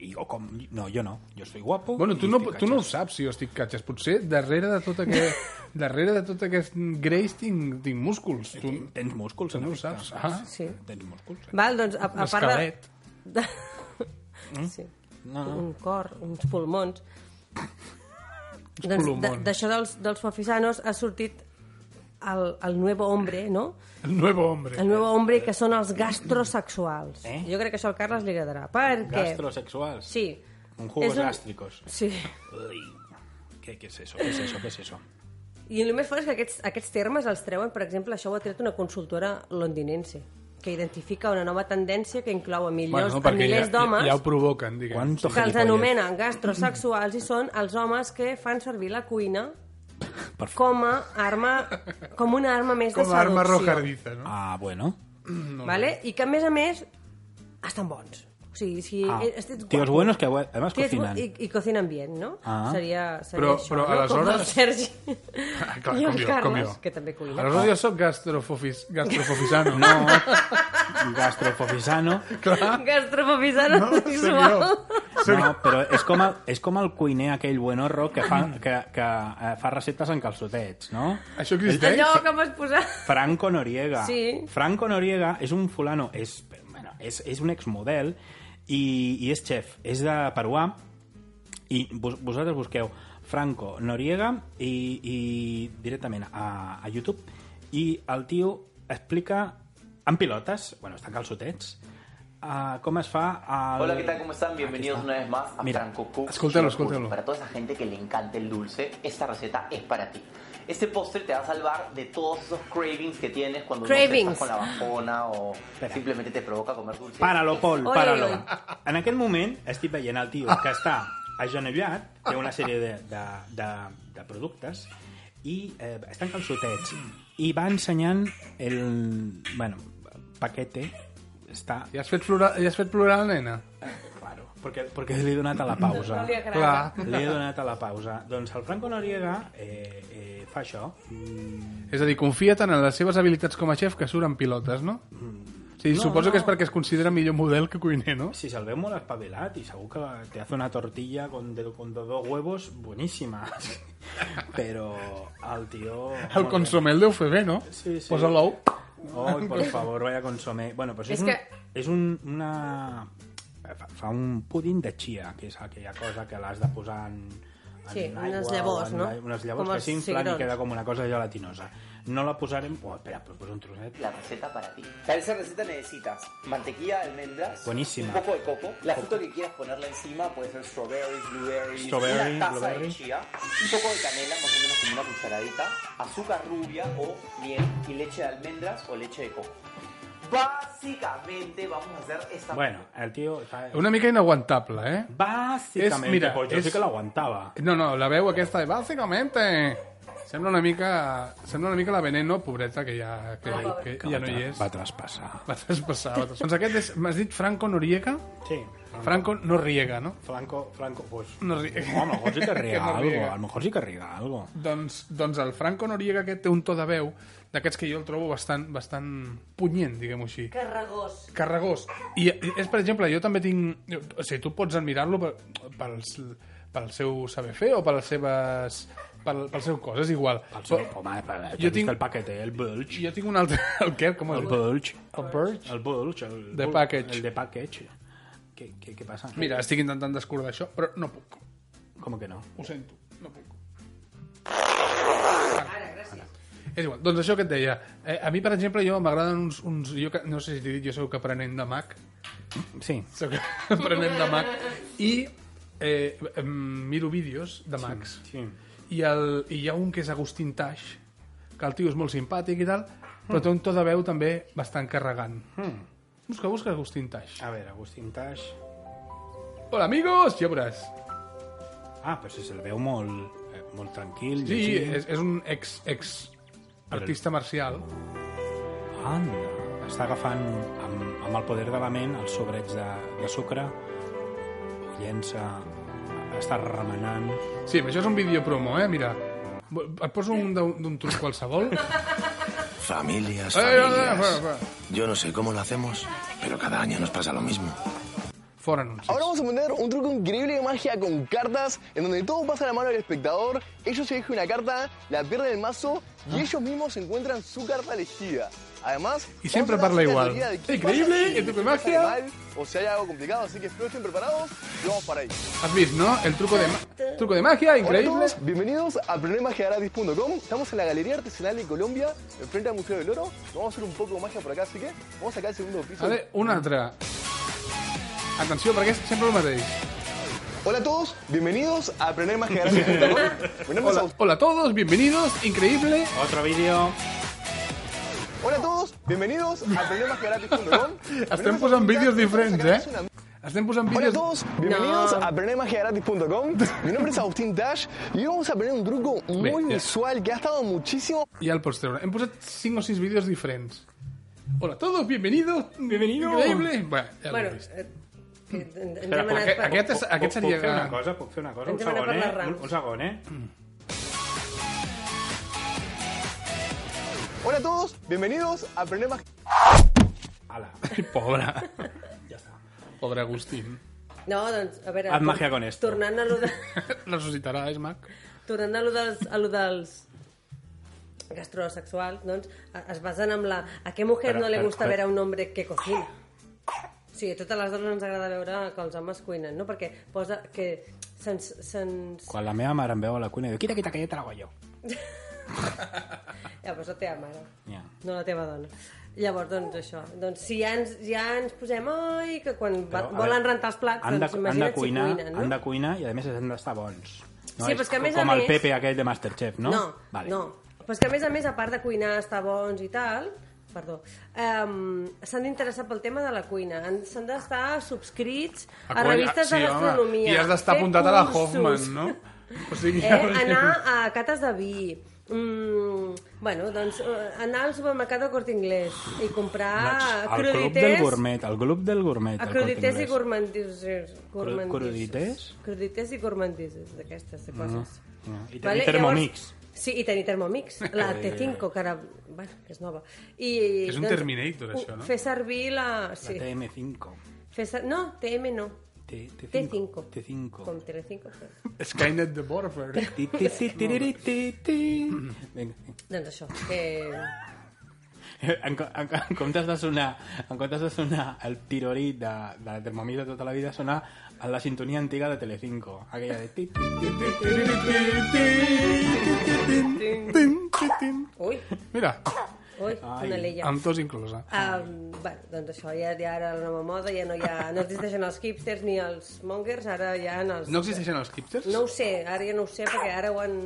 I jo com... No, jo no. Jo estic guapo Bueno, tu i no, estic tu no ho catxes. saps, si jo estic catxes. Potser darrere de tot aquest, darrere de tot aquest greix tinc, tinc músculs. Tu, Tens músculs, tu no ho efecte. saps. Ah, Sí. Tens músculs. Val, doncs, a, a part de... l'esquelet. de... Sí. No, no. un cor, uns pulmons. doncs de- pulmons. d'això dels, dels fofisanos ha sortit el, el nuevo hombre, no? El nuevo hombre. El nuevo hombre que són els gastrosexuals. Eh? Jo crec que això al Carles li agradarà. Perquè... Gastrosexuals. Sí. Con jugos És gástricos. Sí. Ui. ¿Qué, ¿Qué es eso? ¿Qué es eso? ¿Qué es eso? I el més fort és que aquests, aquests termes els treuen, per exemple, això ho ha tret una consultora londinense, que identifica una nova tendència que inclou a, milions, a milers d'homes ja, ja ho provoquen, diguem. ¿Cuánto que els gilipollas? anomenen gastrosexuals i són els homes que fan servir la cuina com a arma com una arma més Com a de seducció arma rojardiza, no? Ah, bueno. vale? i que a més a més estan bons o sigui, si Ah, ets guapo, tíos buenos que además si ets bu- cocinan. i, i cocinan bien no? Ah. seria, seria Però- això, però no? com el aleshores- Sergi Ah, clar, com i el jo, com Carles jo. que també cuina Aleshores jo sóc gastrofofis, gastrofofisano. no, Gastrofofisano. clar. gastrofobisano no, senyor. sexual No, però és com, el, és com el cuiner aquell buenorro que fa, que, que eh, fa receptes en calçotets, no? Això Allò que m'has posat... Franco Noriega. Sí. Franco Noriega és un fulano, és, bueno, és, és un exmodel i, i és xef, és de peruà i vos, vosaltres busqueu Franco Noriega i, i directament a, a YouTube i el tio explica en pilotes, bueno, estan calçotets, uh, com es fa el... Hola, ¿qué tal? ¿Cómo están? Bienvenidos está. una vez más a Mira, Franco Cook. escúchalo, Show Cook. escúchalo. Para toda esa gente que le encanta el dulce, esta receta es para ti. Este postre te va a salvar de todos esos cravings que tienes cuando uno Cravings. estás con la bajona o simplemente te provoca comer dulce. Páralo, Pol, Oi, páralo. oi. En aquell moment estic veient el tio que està agenollat, té una sèrie de, de, de, de productes, i eh, estan calçotets, i va ensenyant el... Bueno, paquete, està... Ja has fet plorar, ja has fet plorar la nena? Claro, perquè, perquè li he donat a la pausa. No li agrada. Clar. Li he donat a la pausa. Doncs el Franco Noriega eh, eh, fa això. És a dir, confia tant en les seves habilitats com a xef que surt en pilotes, no? Sí, No, suposo no. que és perquè es considera millor model que cuiner, no? Si se'l veu molt espavilat i segur que te hace una tortilla con, de, con dos huevos boníssima. Però el tio... El consomé el deu fer bé, no? Sí, sí. Posa l'ou. Ay, por favor, vaya consomé. Bueno, pues És és, un, que- és un, una... fa- Fa un pudín de chia, que és aquella cosa que l'has de posar en, en Sí, aigua, unes llavors, o en, no? ai- Unes llavors Com que els s'inflen i cigrons. queda com una cosa gelatinosa. No la posarem... Oh, espera, però poso un trosset. La receta para ti. Para esa receta necesitas mantequilla, almendras, Buenísima. un poco de coco, la fruta que quieras ponerle encima, puede ser strawberries, blueberries, Strawberry, una taza blueberry. de chía, un poco de canela, más o menos como una cucharadita, azúcar rubia o miel y leche de almendras o leche de coco. Básicamente vamos a hacer esta Bueno, el tio... Està... Una mica inaguantable, eh? Bàsicament, És- mira, pues, jo és- sí que l'aguantava. No, no, la veu aquesta de básicamente... Sembla una mica... Sembla una mica la Veneno, pobreta, que ja, que, que, ja no hi és. Va traspassar. Va traspassar. va traspassar. Doncs aquest és... M'has dit Franco Noriega? Sí. Franco no riega, no? Franco, Franco, pues... No riega. No, a lo mejor sí que riega no algo, riega. a lo mejor sí que riega algo. Doncs, doncs el Franco Noriega aquest té un to de veu d'aquests que jo el trobo bastant, bastant punyent, diguem-ho així. Carregós. Carregós. I és, per exemple, jo també tinc... O sigui, tu pots admirar-lo per- pels pel seu saber fer o per les seves... Pel, pel seu cos, és igual. Al seu, Però home, per, jo Jo tinc... tinc- el paquete, el bulge. Jo tinc un altre... El què? Com El bulge. El Purge? El bulge. El The bul- package. El de package. Què, què, què passa? Mira, estic intentant descordar això, però no puc. Com que no? Ho sento, no puc. És igual. Doncs això que et deia. Eh, a mi, per exemple, jo m'agraden uns... uns jo que, no sé si t'he dit, jo sóc aprenent de Mac. Sí. Sóc aprenent de Mac. I eh, em miro vídeos de Macs. Sí. I, el, I hi ha un que és Agustín Taix, que el tio és molt simpàtic i tal, però té un to de veu també bastant carregant. Busca, busca Agustín Taix. A veure, Agustín Tash... Hola, amigos! Ja veuràs. Ah, però si se'l veu molt, eh, molt tranquil. Sí, llegint. és, és un ex, ex artista marcial. Anda. Està agafant amb, amb el poder de la ment els sobrets de, de sucre, ho llença, està remenant... Sí, però això és un vídeo promo, eh? Mira, et poso un d'un d'un truc qualsevol. Familias, Eh, eh, eh, familias. eh, eh, Yo no sé cómo lo hacemos, pero cada año nos pasa lo mismo. Fora anunci. Ahora vamos a poner un truco increíble de magia con cartas, en donde todo pasa a la mano del espectador, ellos eligen una carta, la pierden el mazo Ah. y ellos mismos encuentran su carta elegida. Además, Y siempre vamos a hacer una parla igual. teoría de qué Increíble, pasa si el truco de no sale magia. mal O si hay algo complicado, así que espero estén preparados y vamos para ahí. Has vist, no? El truco de, ma- truco de magia, Hola increïble. a todos, bienvenidos a problemagiagratis.com. Estamos en la Galería Artesanal de Colombia, enfrente al Museo del Oro. Vamos a hacer un poco de magia por acá, así que vamos acá al segundo piso. Vale, un altre. Atenció, perquè és sempre el mateix. Hola a todos, bienvenidos a problemagiagratis.com. Mi nombre es Hola, Agustín. hola a todos, bienvenidos, increïble. Otro vídeo... Hola a todos, bienvenidos a problemasgratis.com. Estem posant vídeos diferents, eh? Estem posant Hola a vídeos... todos, bienvenidos a problemasgratis.com. Mi nombre es Agustín Dash y hoy vamos a aprender un truco muy Bien, ya. visual que ha estado muchísimo. Ja el pots treure. Hem posat 5 o 6 vídeos diferents. Hola a todos, bienvenidos, Bienvenido. increïble. Bueno, ja Bueno, bueno, eh, que ens hem Aquest, Espera, anat per... aquest, és, aquest puc, seria... Puc fer una cosa, puc fer una cosa, un Ens hem anat segon, per les eh? Un, rames. un segon, eh? Hola a todos, bienvenidos a problemas. Ala. Pobre. Ja està. Pobre Agustín. No, doncs, a veure... Haz tor- magia con esto. Tornant a lo de... Ressuscitarà, és mag. Tornant a lo dels, a lo dels gastrosexuals, doncs, a- es basen en la... A què mujer Però- no li però- gusta però- veure un home que cocina? O sigui, a totes les dones ens agrada veure que els homes cuinen, no? Perquè posa que se'ns... se'ns... Quan la meva mare em veu a la cuina, diu, quita, quita, que ja te la hago yo. Ja, però és la teva mare, Ja. no la teva dona. Llavors, doncs, això. Doncs si ja ens, ja ens posem... Ai, que quan va, Però, a volen veure, rentar els plats, Han de, doncs han de imagina't cuinar, si cuinen, no? han de cuinar i a més han d'estar bons. No Sí, però és és que a més a com el més- Pepe aquell de Masterchef, no? No, vale. no. Però és que, a més a més, a part de cuinar, estar bons i tal, perdó, um, s'han d'interessar pel tema de la cuina. Han- S'han d'estar subscrits a, colla- revistes sí, home. de gastronomia. I has d'estar fer apuntat a la cursos. Hoffman, no? O sigui, Eh, anar a cates de vi, Mm, bueno, doncs eh, anar al supermercat del Corte Inglés i comprar El Doncs club del gourmet, el club del gourmet. Ah, a del Corte crudités i Inglés. gourmandises. gourmandises. crudités? Crudités i gourmandises, d'aquestes coses. No, no. Ah. I tenir Vale, Thermomix. Llavors, sí, i tenir Thermomix, la Eh. T5, que ara, bueno, que és nova. I, És un Terminator, u- això, no? Fer servir la... Sí. La TM5. Fer ser... No, TM no. T- T5. T5. T5. Com Tele5. Però... Skynet de Warfare. Ti, ti, ti, ti, ti, ti, ti. Vinga. Doncs això, que... En, co- en, en comptes de sonar en comptes de sonar el tirorí de, de la Thermomix de tota la vida sonar a la sintonia antiga de Telecinco aquella de ti, ti, ti, ti, ti, Ui, Mira, ui, una leia. amb tots inclosa. Um, bueno, doncs això, ja, ja ara la nova moda, ja no, hi ha, no existeixen els hipsters ni els mongers, ara ja en els... No existeixen els hipsters? No ho sé, ara ja no ho sé, perquè ara ho han...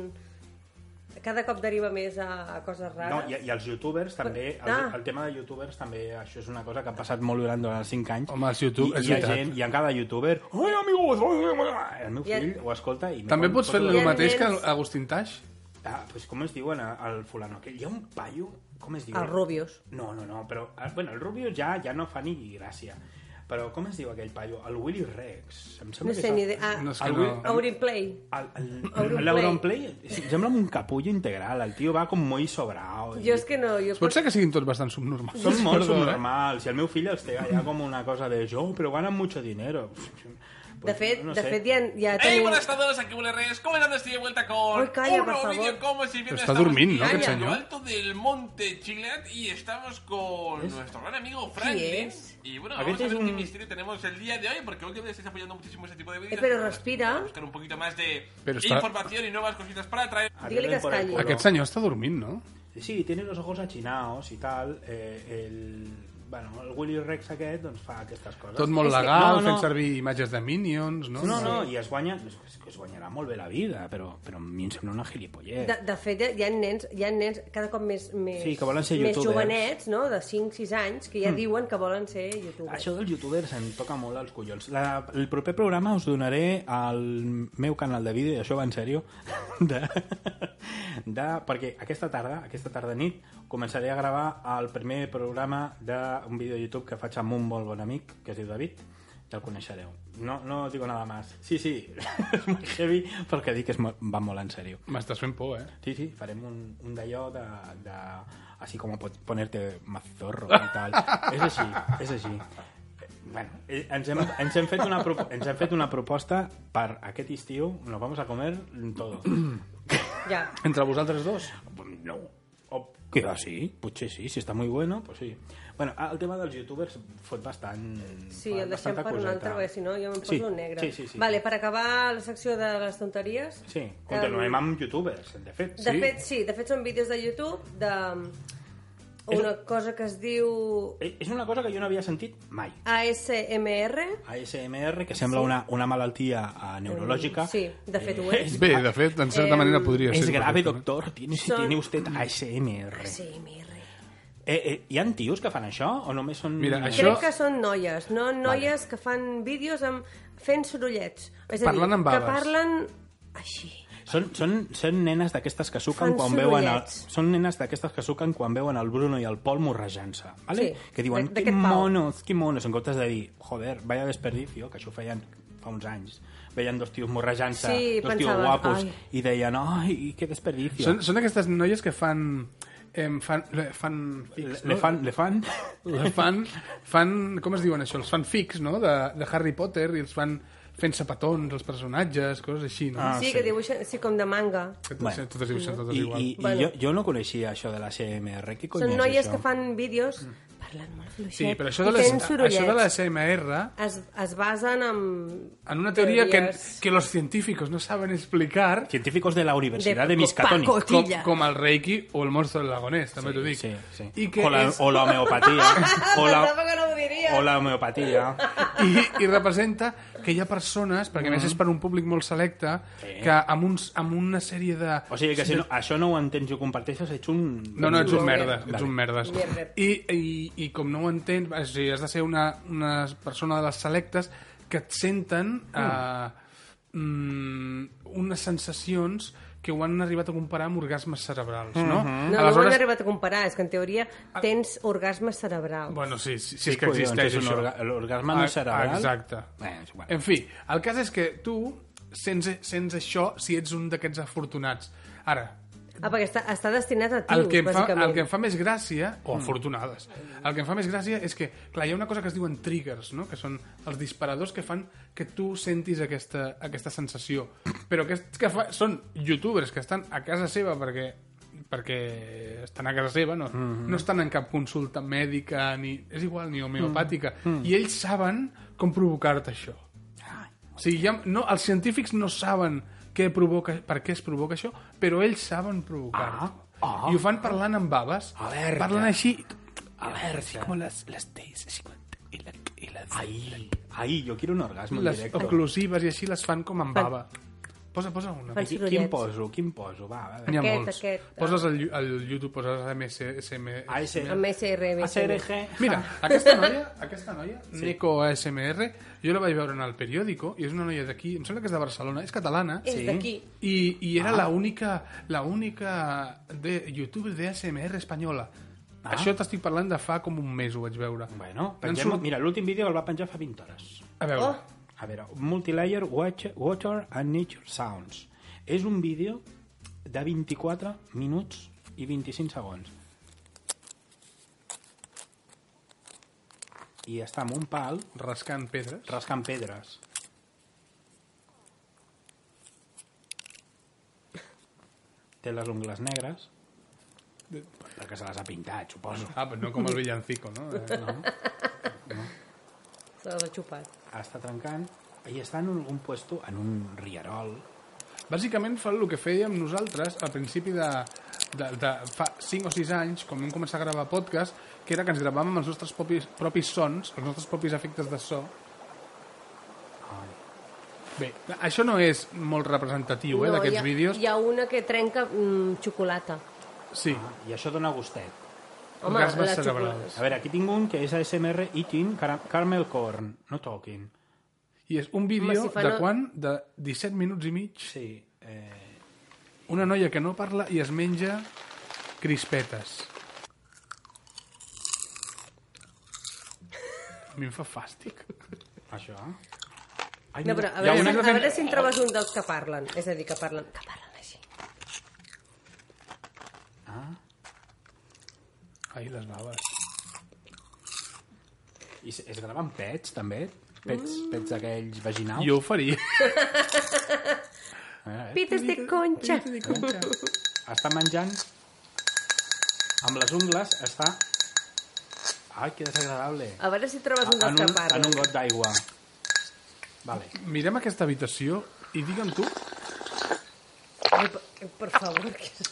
Cada cop deriva més a, a coses No, rares. i, i els youtubers també, el, Ah. el tema de youtubers també, això és una cosa que ha passat molt durant durant els 5 anys. Home, els YouTube- I, és i hi ha veritat. gent, i en cada youtuber, ai, amigos, ai, ai, ai", el meu I el- fill ho escolta i... També pots fer el mateix que el... Agustín Tash? Ah, pues com es diuen eh, el fulano aquell? Hi ha un paio, com es diu? Els rubios. No, no, no, però... ah, Bueno, el rubio ja ja no fa ni gràcia. Però com es diu aquell paio? El Willy Rex. Em sembla No que sé és ni el- idea. Ah, el no Willy- Play. El, Auronplay. L'Auronplay sembla un capullo integral. El tio va com molt sobrao. i- Jo és que no... Jo Pot ser que siguin tots bastant subnormals. Són molt Perdó, eh? subnormals. I el meu fill els té allà com una cosa de jo, però ganen mucho dinero. De fet, no de sé. fet ja, ja Hey, tenim... buenas tardes, aquí Willy Reyes. ¿Cómo andan? Estoy de vuelta con Uy, calla, un por nuevo favor. vídeo como si bien Pero está estamos durmiendo, aquí en ¿no, qué lo señor? alto del monte Chigleat y estamos con nuestro gran amigo Franklin. Y bueno, A vamos veces a ver un- qué misterio tenemos el día de hoy, porque últimamente estáis apoyando muchísimo este tipo de vídeos. Eh, pero Vamos a respira. Buscar un poquito más de Pero está- información y nuevas cositas para traer. Dígale que es calle. Aquest senyor està dormint, no? Sí, tiene los ojos achinados y tal. Eh, el... Bueno, el Willy Rex aquest doncs, fa aquestes coses. Tot molt És que- legal, no, no. fent servir imatges de Minions, no? No, no, i es guanya, és que- és que es guanyarà molt bé la vida, però, però a mi em sembla una gilipollez. De, de fet, hi ha nens, hi ha nens cada cop més, més, Sí, que volen ser més youtubers. jovenets, no? de 5-6 anys, que ja Hmm. diuen que volen ser youtubers. Això dels youtubers em toca molt als collons. La, el proper programa us donaré al meu canal de vídeo, i això va en sèrio, de, de, perquè aquesta tarda, aquesta tarda nit, començaré a gravar el primer programa d'un vídeo de YouTube que faig amb un molt bon amic, que es diu David, ja el coneixereu. No, no digo nada más. Sí, sí, és molt heavy, perquè dic que és, mo- va molt en sèrio. M'estàs fent por, eh? Sí, sí, farem un, un d'allò de, de... Així com pot ponerte mazorro i tal. és així, és així. Eh, Bueno, eh, ens hem, ens, hem fet una propo- ens hem fet una proposta per aquest estiu, nos vamos a comer todo. Ja. Entre vosaltres dos? No. O, que va, sí, potser sí, si està muy bueno, pues sí. Bueno, ah, el tema dels youtubers fot bastant... Sí, fa el deixem bastanta per un coseta. altre, perquè si no jo em poso Sí, negre. sí, sí, sí. Vale, per acabar la secció de les tonteries... Sí, continuem em, amb youtubers, de fet. De sí. fet, sí, de fet són vídeos de YouTube de um, una cosa que es diu Eh, És una cosa que jo no havia sentit mai. ASMR. ASMR, que sembla una, una malaltia eh, neurològica. Eh, Sí, de fet ho és. Bé, de fet, en certa Em, manera podria és ser. grave, doctor. Tiene, si Són- tiene usted ASMR. ASMR. Eh, eh, hi ha tios que fan això o només són... Mira, Crec que són noies, no noies que fan vídeos amb fent sorollets. És a dir, Parlant amb que baves. parlen així. Són, són, són nenes d'aquestes que suquen Fan quan veuen el, sorollets. són nenes d'aquestes que suquen quan veuen el Bruno i el Pol morrejant-se, vale? Sí, que diuen, d'aqu- que d'aquest pal. monos, que monos, en comptes de dir, joder, vaya desperdicio, que això ho feien fa uns anys. Veien dos tios morrejant-se, Sí, dos tios pensaven, guapos, "Ai". i deien, ai, que desperdicio. Són, són aquestes noies que fan em, fan, le, fan Le- le fan- le fan. Le fan, fan, com es diuen això? Els fanfics, no? De, de Harry Potter i els fan fent sapatons, els personatges, coses així, no? sí, que dibuixen, sí, com de manga. Bueno. Totes dibuixen totes Ah, I, igual. i, i Bueno. jo, jo no coneixia això de la CMR. Què cony Són és noies això? que fan vídeos parlant molt fluixet Mm. Sí, però això de, i les, fent això de la sorollets. CMR Es, es basen en... en una teoria que, Teories. que los científicos no saben explicar... Científicos de la Universidad de, De Miskatonic. Com, pacotilla. com el Reiki o el monstruo del lagonés, també t'ho dic. Sí, sí. I que O la- és... o la homeopatía. O la- Pensava que no ho diries. O la homeopatía. I, I representa que hi ha persones, perquè a més és per un públic molt selecte, que amb, uns, amb una sèrie de... O sigui que si no, això no ho entens i ho comparteixes, ets un... No, no, ets un merda, ets Vale. un merdes. I, i, I com no ho entens, o sigui, has de ser una, una persona de les selectes que et senten eh, mm, unes sensacions que ho han arribat a comparar amb orgasmes cerebrals, no? Mm-hmm. No, no ho han arribat a comparar, és que en teoria tens orgasme cerebral. Ah. Bueno, sí, sí, sí Sí, és que collons, existeix és un això. orga- l'orgasme no Ah, cerebral. Exacte. Eh, és igual. En fi, el cas és que tu sents, sents això si ets un d'aquests afortunats. Ara, Ah, perquè està, està destinat a tios, el que, em fa, bàsicament. el que em fa més gràcia, o Mm. afortunades, el que em fa més gràcia és que, clar, hi ha una cosa que es diuen triggers, no? que són els disparadors que fan que tu sentis aquesta, aquesta sensació. Però aquests que fa, són youtubers que estan a casa seva perquè perquè estan a casa seva, no, Mhm. no estan en cap consulta mèdica, ni, és igual, ni homeopàtica, Mm. Mm. i ells saben com provocar-te això. O sigui, ja, no, els científics no saben què provoca, per què es provoca això, però ells saben provocar-ho. Ah, ah, I ho fan parlant amb baves. Alerta. Parlen així... Alerta. Así como las, las teis, así con... Y la, y las, ahí, ahí, jo quiero un orgasme en les directe. oclusives i així les fan com amb bava. Posa, posa una. Qui- Quin poso? Quin poso? Va, va. N'hi ha Aquest, molts. aquest. ah. Poses al, Yu- al YouTube, poses AMS, SM, Amb SRM. Mira, aquesta noia, aquesta noia, sí. Neko ASMR, jo la vaig veure en el periòdico i és una noia d'aquí, em sembla que és de Barcelona, és catalana. És Sí. d'aquí. I, i era Ah. la única, la única de youtuber de ASMR espanyola. Ah. Això t'estic parlant de fa com un mes ho vaig veure. Bueno, Pengem, Mira, l'últim vídeo el va penjar fa 20 hores. A veure. Oh. A veure, Multilayer Watch, Water and Nature Sounds. És un vídeo de 24 minuts i 25 segons. I està amb un pal... Rascant pedres. Rascant pedres. Té les ungles negres. Perquè se les ha pintat, suposo. Ah, però no com el villancico, no? Eh, no. Se l'ha xupat. està trencant i està en algun puesto, en un rierol. Bàsicament fa el que fèiem nosaltres al principi de, de, de fa 5 o 6 anys, quan vam començar a gravar podcast, que era que ens gravàvem els nostres propis, propis sons, els nostres propis efectes de so. Bé, això no és molt representatiu, eh, hi d'aquests ha, vídeos. Hi ha una que trenca mm, xocolata. Sí. I això dona gustet. Home, Orgasmes la cerebrals. xocolata. A veure, aquí tinc un que és ASMR Eating car Caramel Corn, no talking. I és un vídeo Home, si fa de no- quan? De 17 minuts i mig. Sí. Eh... Una noia que no parla i es menja crispetes. A mi em fa fàstic. Això? Ai, no, però a veure, a, a veure si en trobes un dels que parlen. És a dir, que parlen, que parlen així. Ah. Ai, les baves. I es, es graven pets, també? Pets, Mm. pets d'aquells vaginals? Jo ho faria. Eh, eh? Pites de concha. Pites de concha. Està menjant amb les ungles, està... Ai, que desagradable. A veure si trobes en, un dels un, que en parlen. un got d'aigua. Vale. Mirem aquesta habitació i digue'm tu... Ai, per, per favor. que-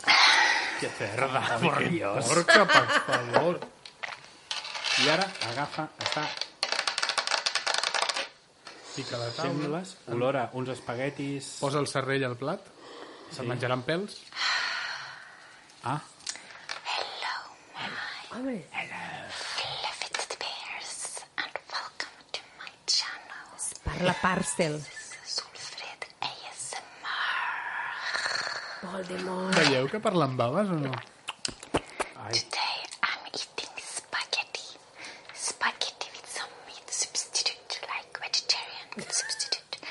Que cerda, Ai, por que Dios. porca, per favor. I ara agafa, està... Pica la taula. Sembles, olora uns espaguetis... Posa el serrell al plat, se'n Sí. menjaran pèls. Ah. Home. Parla parcel. Voldemort. Veieu que parlen baves o no? Ai. Today I'm eating spaghetti. Spaghetti with some meat substitute, like vegetarian meat substitute,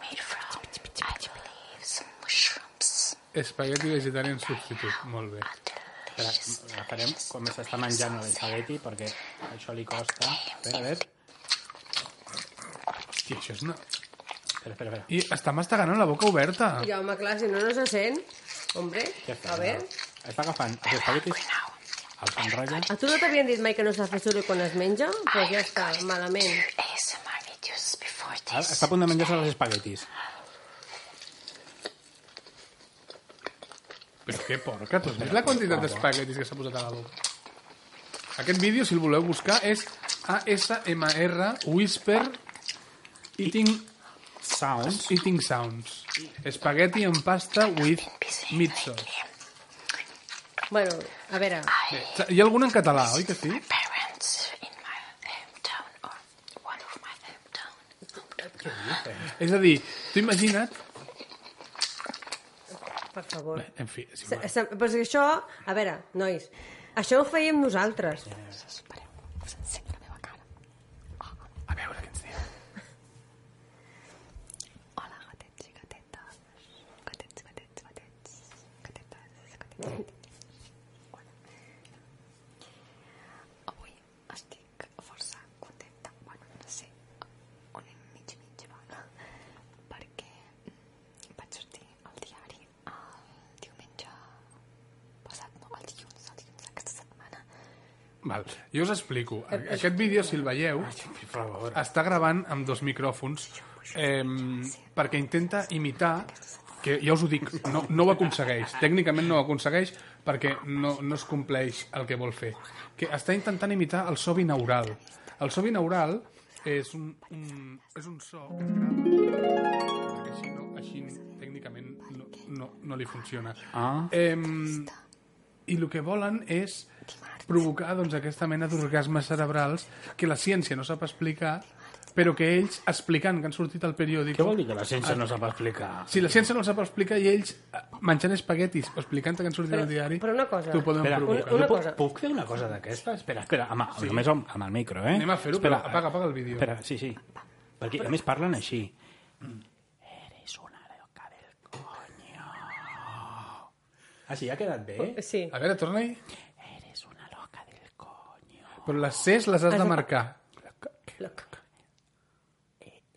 made from, I believe, some mushrooms. Espagueti vegetarian substitut, molt bé. Espera, agafarem com s'està menjant l'Elizabetti perquè això li costa. Espera, a veure. Hòstia, això és una... Espera, espera, espera. I està mastegant amb la boca oberta. Ja, home, clar, si no, no se sent. Hombre, Ja està, a ver. Està agafant els espaguetis, els enrotlla. A tu no t'havien dit mai que no s'ha fet soroll quan es menja? Però ja està, malament. Ah, Està a punt de menjar-se els espaguetis. Però que porca, tu has vist la quantitat d'espaguetis que s'ha posat a la boca? Aquest vídeo, si el voleu buscar, és ASMR Whisper Eating Sounds. Eating Sounds. Espagueti en pasta with meat sauce. Bueno, a veure, Bé, hi ha algun en català, oi que sí? És a dir, tu imagina't... per favor. En fi, és Se, igual. se, però és que això... A veure, nois, això ho fèiem nosaltres. A veure què ens diu. Val. Jo us explico. A- Aquest vídeo, si el veieu, està gravant amb dos micròfons eh, perquè intenta imitar que ja us ho dic, no, no ho aconsegueix. Tècnicament no ho aconsegueix perquè no, no es compleix el que vol fer. Que està intentant imitar el so binaural. El so binaural és un, un, és un so que es grava perquè així, no, així tècnicament no, no, no li funciona. Ah. Em, I el que volen és provocar doncs, aquesta mena d'orgasmes cerebrals que la ciència no sap explicar, però que ells, explicant que han sortit al periòdic... Què vol dir que la ciència no sap explicar? Si la ciència no els sap explicar i ells eh, menjant espaguetis o explicant que han sortit Però- al diari... però una cosa. T'ho poden Espera, provocar. jo puc, puc fer una cosa d'aquesta? Espera, espera, amb, Sí. sí. només amb, amb el micro, eh? Anem a fer-ho, Espera, però apaga, apaga el vídeo. Espera, sí, sí. Perquè a més parlen així. Ah, sí, ha quedat bé? Sí. A veure, torna-hi. Eres una loca del coño. Però les Cs les has de marcar.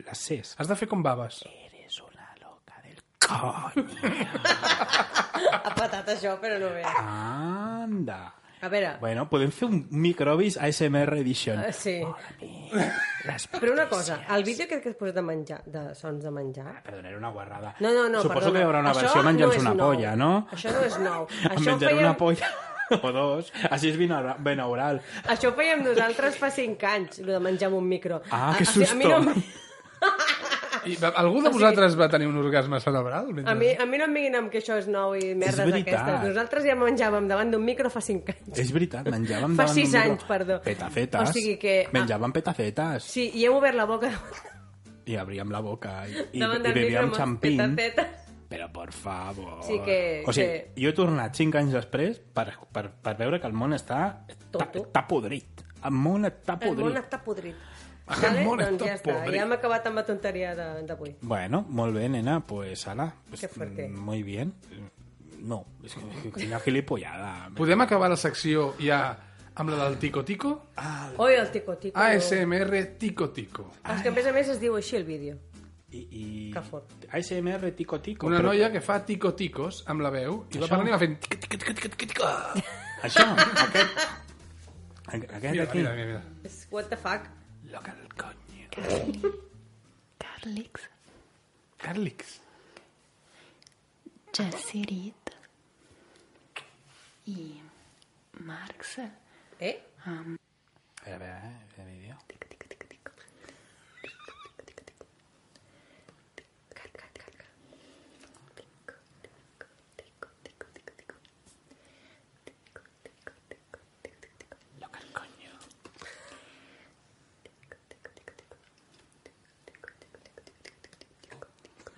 Les Cs. Has de fer com baves. Ha patat això, però no ve. Anda. A veure, Bueno, podem fer un microbis ASMR edition. eh, sí. Però una cosa, el vídeo aquest que has posat de menjar, de sons de menjar... Perdona, era una guarrada. No, no, no, Suposo perdona. que hi haurà una Això versió menjant-se no és una nou. polla, no? Això no és nou. Em Això ho menjaré fèiem- una polla o dos. Així és binaural. binaural. Això ho fèiem nosaltres fa 5 anys, el de menjar amb un micro. Ah, A- que a- a mi no em- I, va- algú de vosaltres va tenir un orgasme cerebral? A mi, a mi no em vinguin amb que això és nou i merdes veritat. aquestes. Nosaltres ja menjàvem davant d'un micro fa 5 anys. És veritat, menjàvem Fa davant sis d'un anys, micro. perdó. Petafetes. O sigui que- ah. Menjàvem petafetes Sí, i hem obert la boca i abríem la boca i, i, davant i del micro bebíem amb xampín. petafeta. Però, por favor... Sí que- O sigui, jo he tornat 5 anys després per, per, per veure que el món està... Està està podrit. El món està El món podrit. està podrit. El Vale? món doncs està ja està, podrit. ja hem acabat amb la tonteria de- d'avui. Bueno, molt bé, nena, pues ala. Pues, Qué fuerte. mm, Muy bien. No, és que quina Pues gilipollada. Podem acabar la secció ja amb la del tico-tico? Oi, el tico-tico. Ah, ASMR tico-tico. És que a més a més es diu així el vídeo. I, i... Que fort. ASMR tico tico. Una noia que fa tico-ticos amb la veu i va Això? parlant i va fent tico-tico-tico-tico. Això, aquest... Aquest Mira, d'aquí. mira, mira, mira. És what the fuck. Loca del coño. Carlix, Carlix. Jessirit i Marx. Eh? Um, A veure, a veure, Ah. eh, el vídeo.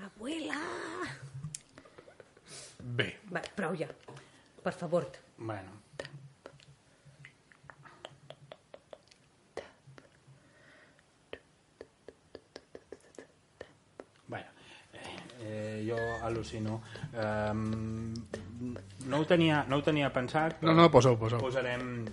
Abuela! Bé. Va, prou ja. Per favor. Bueno. Bueno, eh, eh, jo al·lucino. Um, No ho tenia, no ho tenia pensat. però No, no, posa-ho, posa-ho. Posarem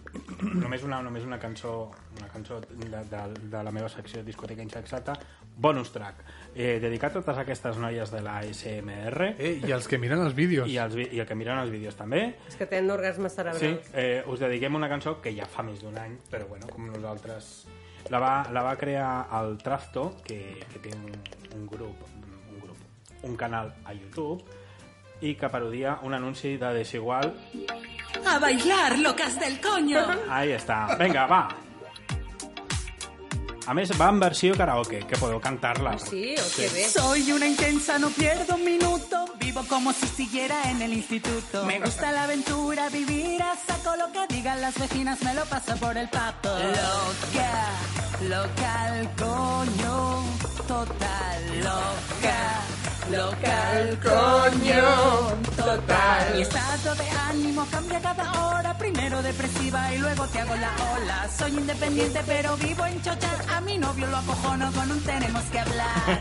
només una, només una cançó, una cançó de, de, de la meva secció de discoteca insexata, bonus track, eh, dedicat a totes aquestes noies de la SMR. Eh, i els que miren els vídeos. I, els, vi- i el que miren els vídeos també. És que tenen orgasmes Sí, cerebrals. eh, us dediquem una cançó que ja fa més d'un any, però bueno, com nosaltres... La va, la va crear el Trafto, que, que té un, un grup, un grup, un canal a YouTube, i que parodia un anunci de Desigual. A bailar, locas del coño. Ahí està. Vinga, va! A més, va en versió karaoke, que podeu cantar-la. Sí, o Sí. bé. Soy una intensa, no pierdo un minuto. Vivo como si siguiera en el instituto. Me gusta la aventura, vivir a saco lo que digan las vecinas, me lo paso por el papo. Loca, local, coño, total, loca. Local, coño, Mi estado de ánimo cambia cada hora. Primero depresiva y luego te hago la ola. Soy independiente pero vivo en chochas. A mi novio lo acojono con un tenemos que hablar.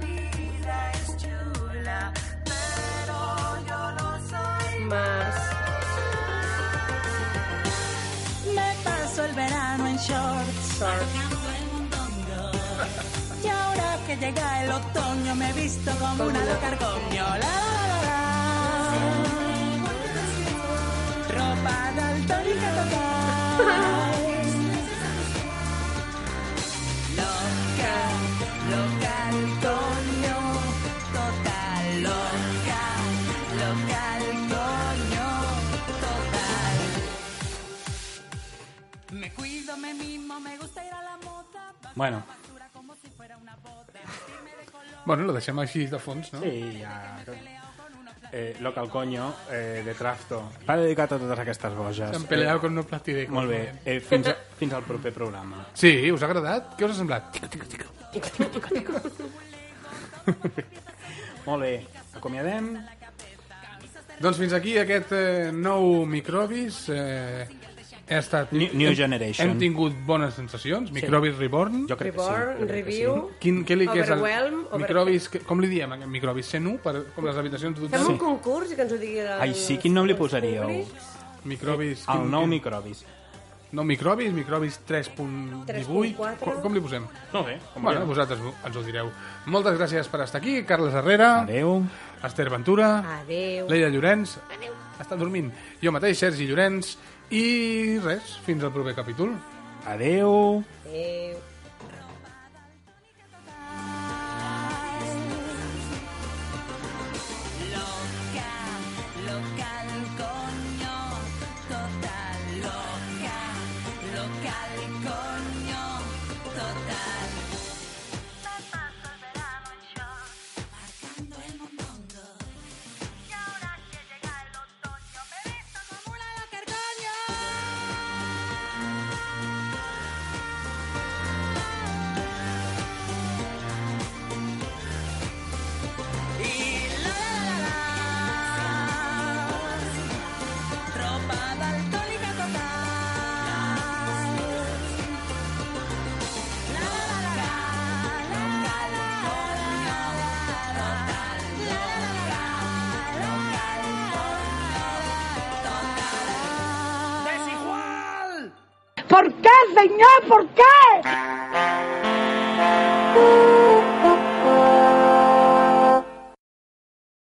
vida es chula, pero yo no soy más. Me paso el verano en shorts. cargando el mondongo. Y ahora que llega el otoño me visto como una loca argomio. La, la, la, la. Ropa daltónica total. Loca, loca Antonio, total loca, loca Antonio, total. Me cuido, me mimo, me gusta ir a la moda. Bueno. Bueno, lo deixem així de fons, no? Sí, ja... Eh, Local Coño, eh, de Trafto. Va dedicat a totes aquestes boges. S'han peleado con unos plastidecos. Molt bé. Eh, fins, a, fins al proper programa. Sí, us ha agradat? Què us ha semblat? Molt bé. Acomiadem. Doncs fins aquí aquest eh, nou microbis. Eh, ha estat... New- New hem- Generation. Hem tingut bones sensacions. Sí. Microbis Reborn. Jo crec que sí, Reborn, jo crec que Review, sí. Quin, què li, què és el, Overwhelm, Over- microbis, que- com li diem? aquest Microbis 101, per, com les habitacions Fem d'hotel? un concurs i que ens ho digui el... Ai, sí, quin nom li posaríeu? Microbis... El nou microbis. No microbis, microbis 3.18. 3.4. Com, com li posem? No bé. com Bueno, vulgueu. vosaltres ens ho direu. Moltes gràcies per estar aquí. Carles Herrera. Adeu. Esther Ventura. Adéu. Leia Llorenç. Adeu. Està dormint. Jo mateix, Sergi Llorenç. I res, fins al proper capítol. Adeu. Adéu. Loca, loca el coño, total loca, loca el coño, total. Me paso el verano en shorts, marcando el mondongo. Y ahora que llega el otoño, me visto como una loca el coño. Y la la la la Ropa daltónica total La la la la la la la la la ¡Desigual! ¿Por qué, señor? ¿Por qué?